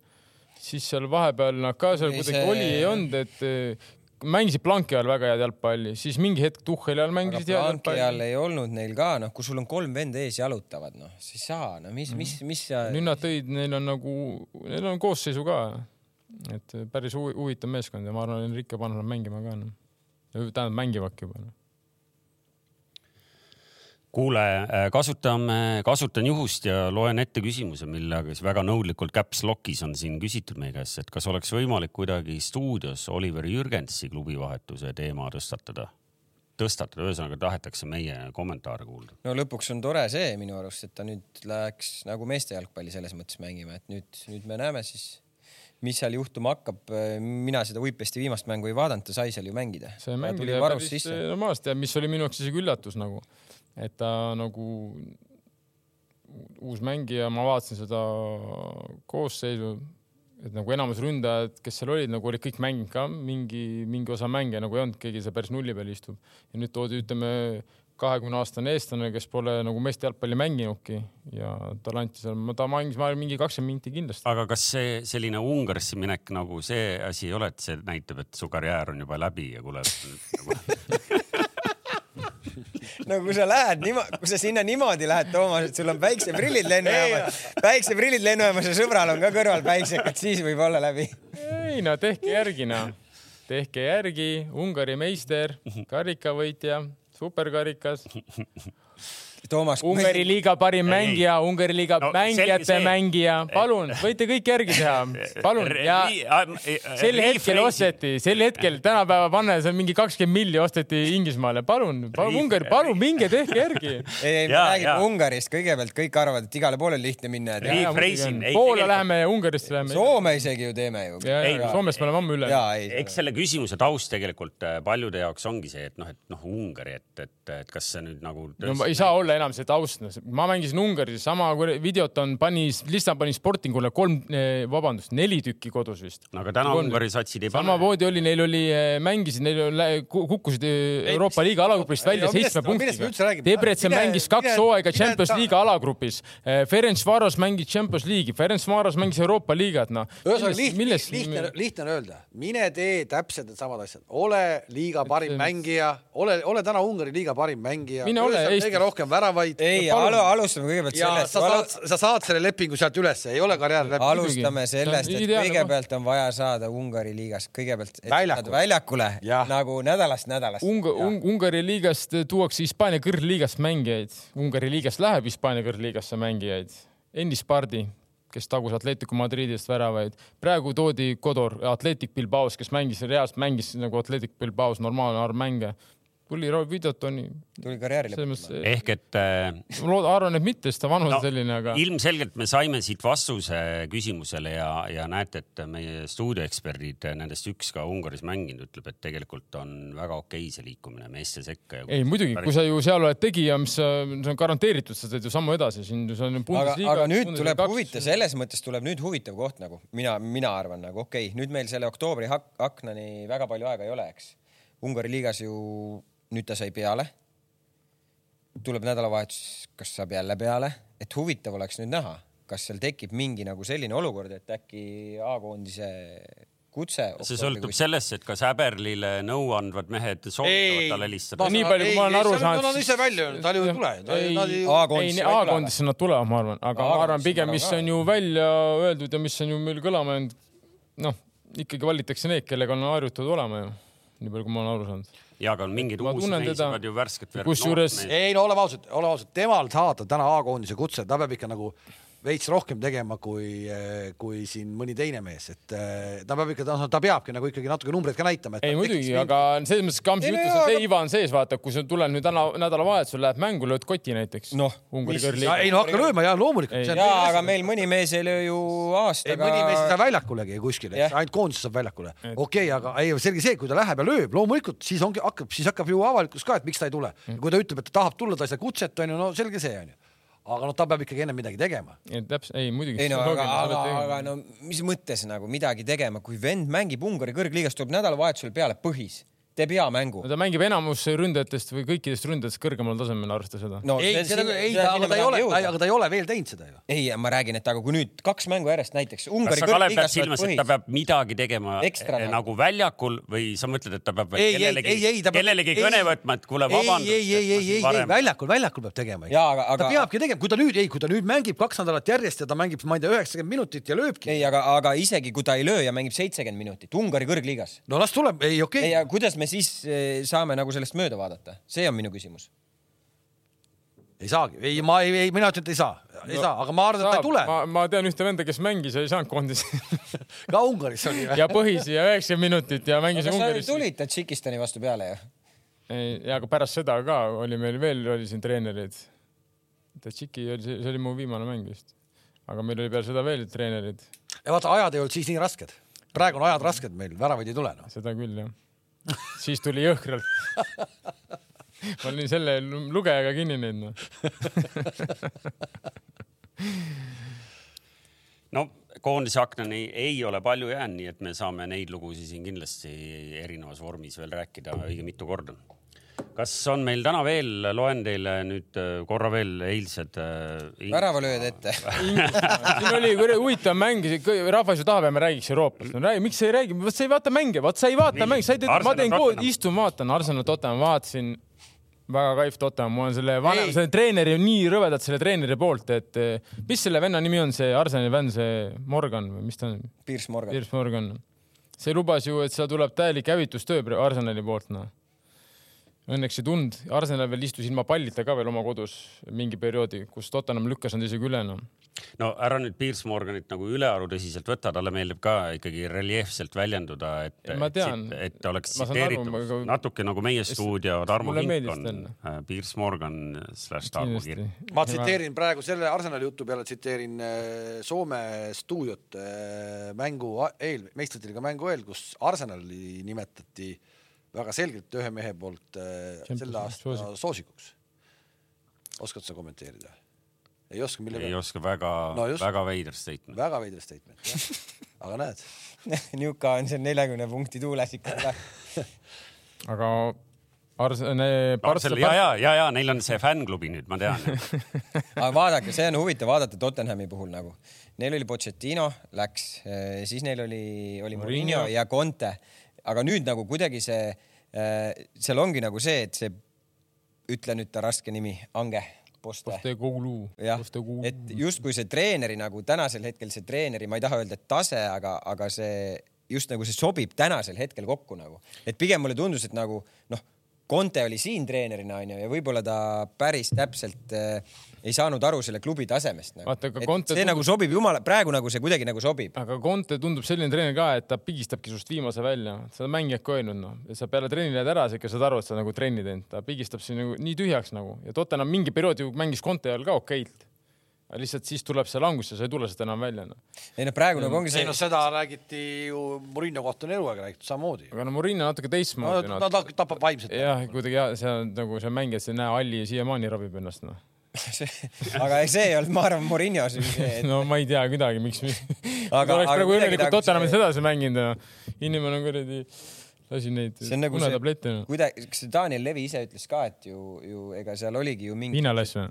siis seal vahepeal nad ka seal Ei, kuidagi see- see... oli , ei olnud , et eh, mängisid planki all väga head jalgpalli , siis mingi hetk Tuhheli all aga mängisid head planki all jalgpalli . ei olnud neil ka noh , kui sul on kolm venda ees jalutavad noh , sa ei saa , no mis , mis , mis sa . Mm. nüüd nad tõid , neil on nagu , neil on koosseisu ka , et päris huvi- huvitav meeskond ja ma arvan , Enrique paneb nad mängima ka noh . tähendab mängivadki juba noh . kuule , kasutame , kasutan juhust ja loen ette küsimuse , millega siis väga nõudlikult Caps Lockis on siin küsitud meie käest , et kas oleks võimalik kuidagi stuudios Oliver Jürgensi klubivahetuse teema tõstatada ? tõstatada , ühesõnaga tahetakse meie kommentaare kuulda . no lõpuks on tore see minu arust , et ta nüüd läheks nagu meeste jalgpalli selles mõttes mängima , et nüüd , nüüd me näeme siis , mis seal juhtuma hakkab . mina seda Uipesti viimast mängu ei vaadanud , ta sai seal ju mängida . see ta mängida tuli ja varust päris sisse . normaalselt eh, ja mis oli minu jaoks isegi üllatus nagu , et ta nagu uus mängija , ma vaatasin seda koosseisu , et nagu enamus ründajad , kes seal olid , nagu olid kõik mänginud ka mingi , mingi osa mänge nagu ei olnud , keegi seal päris nulli peal istub ja nüüd toodi , ütleme , kahekümne aastane eestlane , kes pole nagu meeste jalgpalli mänginudki ja talle anti seal , ta mängis , ma arvan , mingi kakskümmend minti kindlasti . aga kas see selline Ungarisse minek nagu see asi ei ole , et see näitab , et su karjäär on juba läbi ja kuule no kui sa lähed niimoodi , kui sa sinna niimoodi lähed , Toomas , et sul on päikseprillid lennujaamas , päikseprillid lennujaamas ja sõbral on ka kõrval päiksekad , siis võib olla läbi . ei no tehke järgi noh , tehke järgi , Ungari meister , karikavõitja , superkarikas , Toomas , Ungari liiga Ei, parim ei. mängija , Ungari liiga No no, selge mängijate see. mängija , palun , võite kõik järgi teha , palun ja sel äh, hetkel osteti , sel hetkel tänapäeva panna , see on mingi kakskümmend milli osteti Inglismaale , palun , palun Ungari , palun minge tehke järgi . ei , ei , me Jaa, jaa. räägime Ungarist kõigepealt , kõik arvavad , et igale poole on lihtne minna ja teha . Rephrasing, ei, Poola tegelikult- läheme ja Ungarisse läheme . Soome isegi ju teeme ju . ja Ei, , Soomest me oleme ammu üle . ja ei , eks selle küsimuse taust tegelikult äh, paljude jaoks ongi see , et noh , et noh , Ungari , et , et , et kas see nüüd nagu no ma ei saa olla enam see taust , ma mängisin Ungaris , sama kuradi- videot on , pani Lissaboni Sportingule kolm , vabandust , neli tükki kodus vist . no aga täna Ungari satsid ei pane . samamoodi oli , neil oli , mängisid , neil oli, lä- ku- kukkusid eh, Euroopa liiga alagrupist välja no millest- seitsme no millest me üldse punktiga räägime? . Debrecen Mine- mängis kaks mine- hooaega mine Champions ta- liiga alagrupis . Ferencvaros mängis Champions liigi , Ferencvaros mängis Euroopa liigat , noh . ühesõnaga lihtne , lihtne , lihtne on öelda , mine tee täpselt needsamad asjad , ole liiga parim see- mängija , ole , ole täna Ungari liiga parim mängija , Mine ole Eestis. kõige rohkem väravaid ei , palun. alustame kõigepealt ja sa sellest saad ., sa saad selle lepingu sealt ülesse , ei ole karjäär läbi . alustame Muidugi. sellest , See on et ideaalne kõigepealt on vaja saada Ungari liigas kõigepealt et Väljakule. saad väljakule Jah. nagu nädalast nädalast . Unga- , un, Ungari liigast eh, tuuakse Hispaania kõrgliigast mängijaid , Ungari liigast läheb Hispaania kõrgliigasse mängijaid . Ennis Pardi , kes tagus Atletico Madridist väravaid. praegu toodi Kodor Atletic Bilbaos, kes mängis reaalselt mängis nagu Atletic Bilbaos normaalne arv mänge. tuli Roy Vidotoni. tuli karjäärile . selles mõttes eh, ehk et äh, ma loodan- arvan , et mitte , sest ta vanus on No, no, selline , aga ilmselgelt me saime siit vastuse küsimusele ja , ja näete , et meie stuudioeksperdid , nendest üks ka Ungaris mänginud , ütleb , et tegelikult on väga okei see liikumine meeste sekka ja ei muidugi , kui sa ju seal oled tegija , mis sa- see on garanteeritud , sa teed ju sammu edasi , siin see on aga , Bundesliga . aga nüüd tuleb huvitav , selles mõttes tuleb nüüd huvitav koht nagu mina , mina arvan nagu okei okay, , nüüd meil selle oktoobri hak- aknani väga palju aega ei ole , eks . Ungari liigas ju nüüd ta sai peale . tuleb nädalavahetus , kas saab jälle peale , et huvitav oleks nüüd näha , kas seal tekib mingi nagu selline olukord , et äkki A-koondise kutse . see sõltub sellest , et kas Häberlile nõu andvad mehed soovitavad talle helistada . nii palju , kui ma olen aru saanud . Nad on ise välja öelnud , tal ju ei tule . Nad ei A-koondis ei , ei tule A-koondisse nad tulevad , ma arvan , aga ma A-koondisse arvan pigem , mis tulevad on ju välja öeldud ja mis on ju meil kõlama jäänud . noh , ikkagi valitakse need , kellega on harjutatud olema ju , nii palju , kui ma olen aru saanud . ja aga on mingeid Ma uusi tunnen mehi , teda. sa pead ju värsket . Kusjuures- ei no oleme ausad , oleme ausad , temal saada täna A-koondise kutse , ta peab ikka nagu veits rohkem tegema kui , kui siin mõni teine mees , et eh, ta peab ikka , ta peabki nagu ikkagi natuke numbreid ka näitama . ei muidugi , aga selles mõttes Kamps Ei, no ütles , jaa, et aga- ei , iva on sees , vaata , kui sa tuled nüüd täna nädalavahetusel läheb mängu , lööd koti näiteks . Noh, Ungari mis siis- kõrvliiga . ei no hakka lööma ja loomulikult . Ei. jaa , aga meil mõni mees ei löö ju aastaga . ei , mõni mees ei saa väljakulegi kuskile Jah. , ainult koondis saab väljakule . okei , aga ei , selge see , kui ta läheb ja lööb , loomulikult siis ongi , hakkab , siis hakkab ju avalikkus ka , et miks ta ei tule . kui ta ütleb , et ta tahab tulla , ta ei saa kutset , onju , no selge see , onju . aga noh , ta peab ikkagi enne midagi tegema . täpselt , ei muidugi . ei no aga , aga , nagu- aga no mis mõttes nagu midagi tegema , kui vend mängib Ungari kõrgliigas , tuleb nädalavahetusel peale põhis , teeb hea mängu . no ta mängib enamus ründajatest või kõikidest ründajatest kõrgemal tasemel , arvesta seda . no ei , seda , ei , aga ta ei ole , aga ta ei ole veel teinud seda ju . ei , ma räägin , et aga kui nüüd kaks mängu järjest näiteks kas Ungari sa , Kalev , pead kõrgliigas silmas , et ta põhis , peab midagi tegema Ekstra eh, nagu nagu. väljakul või sa mõtled , et ta peab veel ei , ei , kellelegi ei , ei , ta , peab . kellelegi kõne võtma , et kuule , vabandust . ei , ei , ei , ei , ei , väljakul , väljakul peab tegema . Jaa, aga- ta aga- peabki tegema , kui ta nüüd , ei , kui ta nüüd mängib kaks nädalat järjest ja ta mängib , ma ei tea , üheksakümmend minutit ja lööbki . ei , aga , aga isegi kui ta ei löö ja mängib seitsekümmend minutit Ungari kõrgliigas , no las tuleb , ei okei ei , okay. , aga kuidas me siis eh, saame nagu sellest mööda vaadata , see on minu küsimus . ei saagi , ei , ma ei , ei , mina ütlen , et ei saa , ei saa , aga ma arvan , et ta ei tule . ma , ma tean ühte venda , kes mängis ja ei saanud koondis ka Ungaris oli või ? ja põhisi ja üheksakümmend minutit ja mängis aga sa ju Ungaris . tulid Tadžikistani vastu peale ju . ja ka pärast seda ka oli meil veel , oli siin treenereid . Tadžiki oli , see oli mu viimane mäng vist . aga meil oli peale seda veel treenereid , ja vaata , ajad ei olnud siis nii rasked . praegu on ajad rasked meil , väravaid ei tule noh . seda küll jah . siis tuli jõhkralt . ma olin selle lu- lugejaga kinni nüüd noh . no koondise aknani ei ole palju jäänud , nii et me saame neid lugusid siin kindlasti erinevas vormis veel rääkida õige mitu korda . kas on meil täna veel , loen teile nüüd äh, korra veel eilsed äh, väravalööd ette . siin oli kuradi huvitav mäng , rahvas ju tahab , et me räägiks Euroopast . no räägi , miks sa ei räägi , vot sa ei vaata mänge , vot sa ei vaata Nii. mänge , sa ei tee , ma Arsenal teen koodi , Tottenham. istun , vaatan Arsenal Tottenham , vaatasin . väga kaif Tottenham , mul on selle vanem Ei. , selle treeneri , nii rõvedalt selle treeneri poolt , et eh, mis selle venna nimi on , see Arsenali fänn , see Morgan või mis ta on ? Piers Morgan . Piers Morgan . see lubas ju , et seal tuleb täielik hävitustöö pre- Arsenali poolt , noh . Õnneks ei tulnud , Arsenal veel istus ilma pallita ka veel oma kodus mingi perioodi , kus Tottenham lükkas nad isegi üle , noh no ära nüüd Piers Morganit nagu ülearu tõsiselt võta , talle meeldib ka ikkagi reljeefselt väljenduda , et , Ja ma et, tean. sit- et oleks Ma saan aru, tsiteeritud ma ka- natuke nagu meie stuudio Tarmo mulle meeldis Hinkon ta. , Piers Morgan slaš Tarmo Kirk . kindlasti . ma tsiteerin praegu selle Arsenali jutu peale tsiteerin äh, Soome stuudiot äh, mängu a- eel , meistritiga mängu eel , kus Arsenali nimetati väga selgelt ühe mehe poolt äh, Champions selle League aasta soosikuks . oskad sa kommenteerida ? ei oska , mille ei peale ? oska väga No no, just. , väga veider statement . väga veider statement , jah . aga näed , Njuka on seal neljakümne punkti tuules ikka üle aga Arsene , Barcelona , ja , ja , ja , ja neil on see fännklubi nüüd , ma tean . aga vaadake , see on huvitav vaadata Tottenhami puhul nagu . Neil oli Pochettino , läks , siis neil oli , oli Mourinho ja Conte , aga nüüd nagu kuidagi see , seal ongi nagu see , et see , ütle nüüd ta raske nimi , Ange Poste . Postekoglu , jah , Postekoglu . et justkui see treeneri nagu tänasel hetkel see treeneri , ma ei taha öelda , et tase , aga , aga see just nagu see sobib tänasel hetkel kokku nagu , et pigem mulle tundus , et nagu noh , Conte oli siin treenerina onju ja võib-olla ta päris täpselt äh, ei saanud aru selle klubi tasemest nagu. Vaata, aga Et Conte see nagu sobib jumala , praegu nagu see kuidagi nagu sobib . aga Conte tundub selline treener ka , et ta pigistabki sinust viimase välja , seda mängijad ka öelnud noh , et sa peale trenni lähed ära , sa ikka saad aru , et sa nagu trenni teinud , ta pigistab sind nagu nii tühjaks nagu ja Tottenham mingi periood ju mängis Conte all ka okeilt . aga lihtsalt siis tuleb see langus ja sa ei tule sealt enam välja noh . ei no praegu nagu ongi Mm, ei see no , seda räägiti ju , Murillo kohta on eluaeg räägitud samamoodi . aga no Murillo natuke no teistmoodi ta noh . ta- tapab vaimset . jah , kuidagi jah , see on nagu see mängija , see näe Alli siiamaani ravib ennast noh . aga ei, see ei olnud , ma arvan , Murillo see , see , no ma ei tea kuidagi , miks . Aga- oleks aga praegu kuidagi õnnelikult nagu Tottenhamis see- edasi mänginud ja inimene on kuradi , lasi neid noh. see on nagu unetabletti see no. , kuidagi , kas see Daniel Levi ise ütles ka , et ju , ju ega seal oligi ju mingi . Viinalass või ?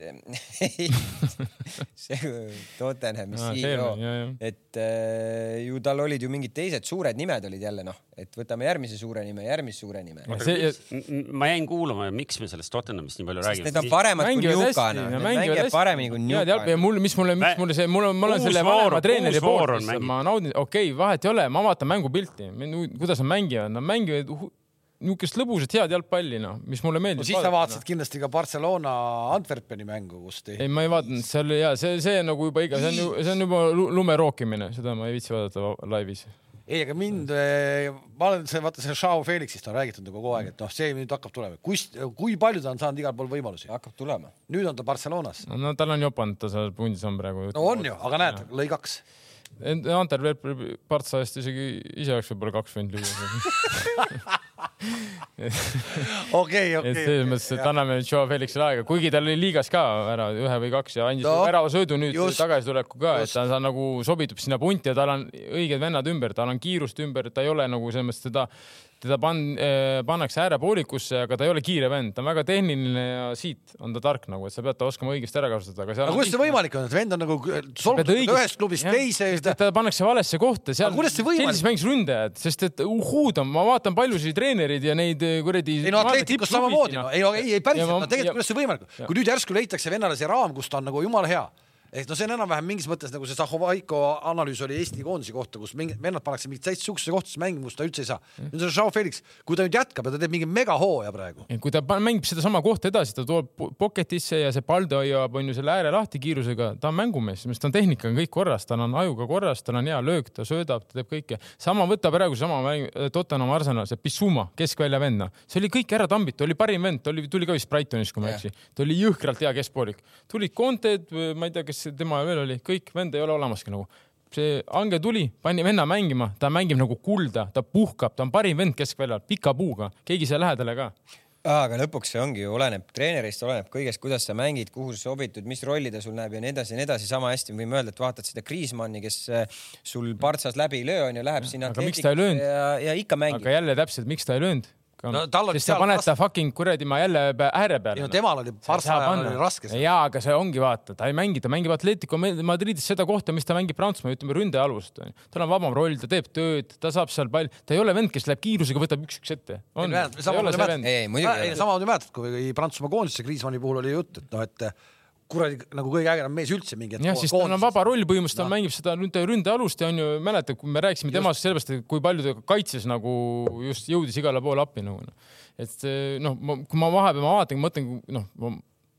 see Tottenhami Aa, see CEO oli, jah, jah. , E et äh, ju tal olid ju mingid teised suured nimed olid jälle noh , et võtame järgmise suure nime , järgmise suure nime . see , ma jäin kuulama , miks me sellest Tottenhamist nii palju sest need on räägime . paremad kui Njukana , need nagu mängivad paremini kui ja Njukana . mul , mis mulle , mis Mä- mulle see , mul on , ma olen Uus selle voor- vanema treeneri uus voor poolt on , ma naudin , okei okay, , vahet ei ole , ma vaatan mängupilti , kuidas nad mängivad , nad mängivad hu- niisugust lõbusat head jalgpalli , noh , mis mulle meeldib . no siis sa vaatasid kindlasti ka Barcelona Antwerpeni mängu , kus ei , tehti . ma ei vaadanud , seal ja see , see on nagu juba iga , see on ju , see on juba lu- lume rookimine , seda ma ei viitsi vaadata va- laivis . ei , aga mind , ma olen see , vaata see Shao Felixist on räägitud ju kogu aeg , et noh , see nüüd hakkab tulema , kus , kui palju ta on saanud igal pool võimalusi , hakkab tulema . nüüd on ta Barcelonas . no tal on jopanud , ta seal pundis on praegu . no on ju , aga näed , lõi kaks . Antwerpi partsa eest isegi ise oleks võib-olla kaks võinud lüüa . okei , et okei . selles mõttes , et anname nüüd Joe Felixile aega , kuigi tal oli liigas ka ära ühe või kaks ja andis no, No, väravasõidu nüüd just, tagasituleku ka , et just. ta, ta nagu sobitub sinna punti ja tal on õiged vennad ümber , tal on kiirust ümber , ta ei ole nagu selles mõttes teda , teda pan- , pannakse äärepoolikusse , aga ta ei ole kiire vend , ta on väga tehniline ja siit on ta tark nagu , et sa pead ta oskama õigesti ära kasutada , aga seal aga on kuidas see tihti- võimalik on , et vend on nagu solvunud pead õigesti- ühest klubist jah, teise sest et . ta pannakse valesse kohta , seal Aga kuidas see võimalik- sellises mängis ründajad , sest et uhhuud on , ma vaatan paljusid treenereid ja neid eh, kuradi . ei no Atleticos samamoodi , ei , ei , ei päriselt , no tegelikult kuidas see võimalik on , kui nüüd järsku leitakse vennale see raam , kus ta on nagu jumala hea , et no see on enam-vähem mingis mõttes nagu see Zahovaiko analüüs oli Eesti koondise kohta , kus mingid vennad pannakse mingit täitsa sihukesesse kohtasse mängima , kus ta üldse ei saa . Mm. nüüd on Joe Felix , kui ta nüüd jätkab ja ta teeb mingi megahooaja praegu , Ja kui ta pan- mängib sedasama kohta edasi , ta tuleb po- pocket'isse ja see palde hoiab , on ju selle ääre lahti kiirusega , ta on mängumees , sest ta on tehnika on kõik korras , tal on ajuga korras , tal on hea löök , ta söödab , ta teeb kõike . sama võta praegu sama mäng , Tottenham Arsenal , see Bissuma , keskvälja vend , noh . see oli kõik ära tambitud , oli parim vend , ta oli , tuli ka vist Brightonist , kui ma ei eksi . ta oli jõhkralt hea keskpoolik . tulid Conted , ma ei tea , kes tema veel oli , kõik vend ei ole olemaski nagu see Ange tuli , pani venna mängima , ta mängib nagu kulda , ta puhkab , ta on parim vend keskväljal , pika puuga , keegi ei saa lähedale ka aga lõpuks see ongi ju , oleneb treenerist , oleneb kõigest , kuidas sa mängid , kuhu sa sobitud , mis rolli ta sul näeb ja nii edasi ja nii edasi . sama hästi me võime öelda , et vaatad seda Kriismanni , kes äh, sul partsas läbi ei löö , onju , läheb sinna . Aga miks ta ei löönud? ja , ja ikka mängib aga . jälle täpselt , miks ta ei löönud ? No tal oli sest sa seal paned vast- ta fucking kuradi ma jälle pea- ääre peale . noh. Ei no temal oli Barca ajal oli raske see. jaa , aga see ongi vaata , ta ei mängi , ta mängib Atletico Madridis seda kohta , mis ta mängib Prantsusmaa , ütleme ründaja alust . tal on vabam roll , ta teeb tööd , ta saab seal pall , ta ei ole vend , kes läheb kiirusega , võtab üks-üks ette . on , Ei, Ah, ta ei sama ole palju see mäletad. vend . ei , ei muidugi ei ole . samamoodi mäletad , kui Prantsusmaa koondise Kriismanni puhul oli jutt , et noh , et kuradi nagu kõige ägedam mees üldse mingi jah , hetk sest tal on vaba roll põhimõtteliselt , ta mängib seda ründe , ründealust ja on ju , mäletad , kui me rääkisime temast sellest , et kui palju ta kaitses nagu just jõudis igale poole appi nagu noh . et eh, noh , kui ma vahepeal ma vaatan , mõtlen , noh ,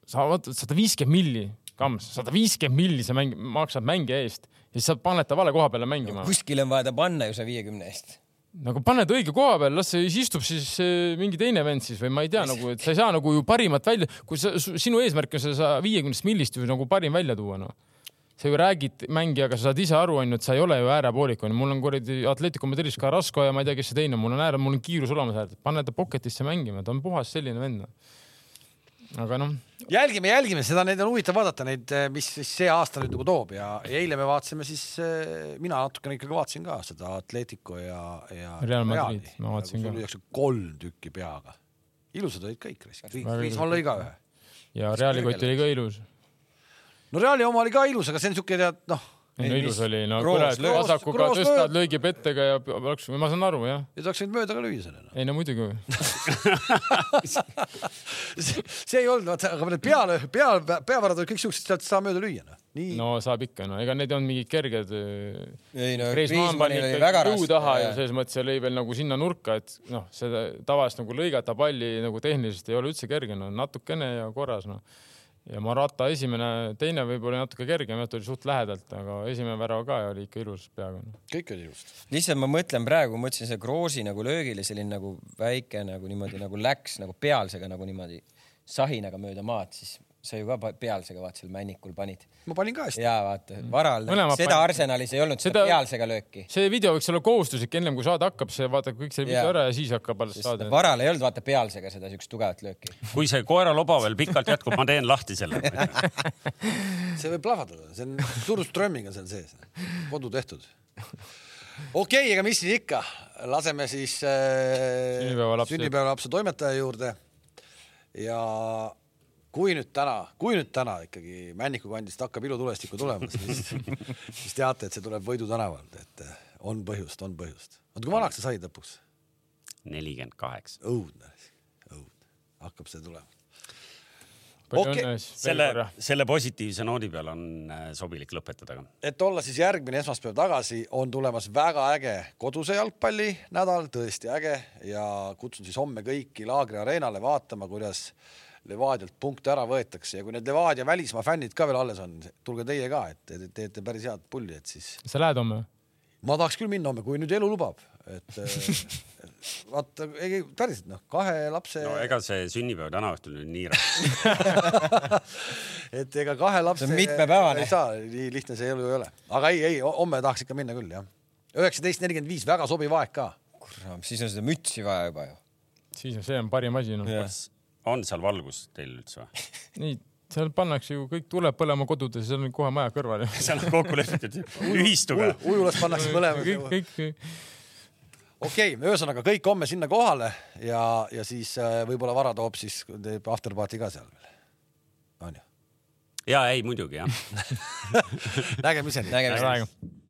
sa vaatad sada viiskümmend milli , kamps , sada viiskümmend milli sa mäng, maksad mängija eest ja siis sa paned ta vale koha peale mängima . kuskile on vaja ta panna ju see viiekümne eest . nagu paned õige koha peal , las see siis istub siis eh, mingi teine vend siis või ma ei tea nagu , et sa ei saa nagu ju parimat välja , kui sa , sinu eesmärk on seda viiekümnest millist ju nagu parim välja tuua noh . sa ju räägid mängijaga , sa saad ise aru , onju , et sa ei ole ju äärepoolik onju , mul on kuradi Atletico Madridis Carrasco ja ma ei tea , kes see teine , mul on ääre , mul on kiirus olemas ääres , pane ta pocket'isse mängima , ta on puhas selline vend noh. aga noh , jälgime , jälgime seda , neid on huvitav vaadata neid , mis siis see aasta nüüd nagu toob ja ja eile me vaatasime siis , mina natukene ikkagi vaatasin ka seda Atletico ja , ja . Real Madrid, ma vaatasin ka. lüüakse kolm tükki peaga . ilusad olid kõik , Väga Kriismann lõi ka ühe . ja Reali kott oli ka ilus . no Reali oma oli ka ilus , aga see on siuke tead noh , ei no Ei, ilus mis- oli , no Kroos kurat , lööb. vasakuga Kroos tõstad , lööb. löögi pettega ja plaks , ma saan aru jah . ja ta oleks võinud mööda ka lüüa selle . ei no muidugi . see see ei olnud , vaata , aga need peale , peal , peavarad olid kõik siuksed , sealt ei saa mööda lüüa , noh . nii no. , no saab ikka , no ega need ei olnud mingid kerged . äh, ei no Kriismann pani Kriismannil oli ikka väga jõu taha ja raske . selles mõttes ja lõi veel nagu sinna nurka , et noh , seda tavaliselt nagu lõigata palli nagu tehniliselt ei ole üldse kerge , no natukene ja korras noh . ja Marata esimene , teine võib-olla natuke kergem , jah , tuli suht lähedalt , aga esimene värav ka oli ikka ilus noh. peaga no. . kõik oli ilusti . lihtsalt ma mõtlen praegu , ma mõtlesin see Kroosi nagu löögile selline nagu väike nagu niimoodi nagu läks nagu pealsega nagu niimoodi sahinaga mööda maad , siis sa ju ka pa- pealsega vaat seal männikul panid . ma panin ka hästi . ja vaata , varal Mõlemad , seda panid. Arsenalis ei olnud , seda Seda- pealsega lööki . see video võiks olla kohustuslik , ennem kui saade hakkab , see vaatab kõik selle video Jaa. ära ja siis hakkab alles saade . varal ei olnud vaata pealsega seda siukest tugevat lööki . kui see koeraloba veel pikalt jätkub , ma teen lahti selle . see võib plahvatada , see on surströmmiga seal sees , kodu tehtud . okei okay, , ega mis siis ikka , laseme siis äh, Sünnipäevalapse- sünnipäevalapse toimetaja juurde . ja kui nüüd täna , kui nüüd täna ikkagi Männiku kandist hakkab ilutulestikku tulema , siis , siis teate , et see tuleb Võidu tänavalt , et äh, on põhjust , on põhjust . oota , kui vanaks sa said lõpuks ? nelikümmend kaheksa . õudne , õudne , hakkab see tulema . palju Okei, õnne siis . selle , selle positiivse noodi peal on äh, sobilik lõpetada ka . et olla siis järgmine esmaspäev tagasi , on tulemas väga äge koduse jalgpalli nädal , tõesti äge ja kutsun siis homme kõiki Laagri areenale vaatama , kuidas Levadialt punkte ära võetakse ja kui need Levadia välismaa fännid ka veel alles on , tulge teie ka , et te teete päris head pulli , et siis sa lähed homme ? ma tahaks küll minna homme , kui nüüd elu lubab , et eh, vaata , ei päriselt noh , kahe lapse no ega see sünnipäev täna õhtul nüüd nii raske . et ega kahe lapse See on mitmepäevane. ei saa , nii lihtne see elu ei ole , aga ei , ei homme tahaks ikka minna küll jah . üheksateist nelikümmend viis , väga sobiv aeg ka . kurat , siis on seda mütsi vaja juba ju . siis on , see on parim asi noh . on seal valgus teil üldse või ? nii , seal pannakse ju kõik tuleb põlema kodudes , seal on kohe maja kõrval ju . seal on kokku lepitud ühistuga . ujulas pannakse kõik , põlema . kõik , okei , ühesõnaga kõik homme sinna kohale ja , ja siis äh, võib-olla Vara toob siis , teeb afterparty ka seal veel . onju , ja ei muidugi jah . nägemiseni . nägemist . praegu .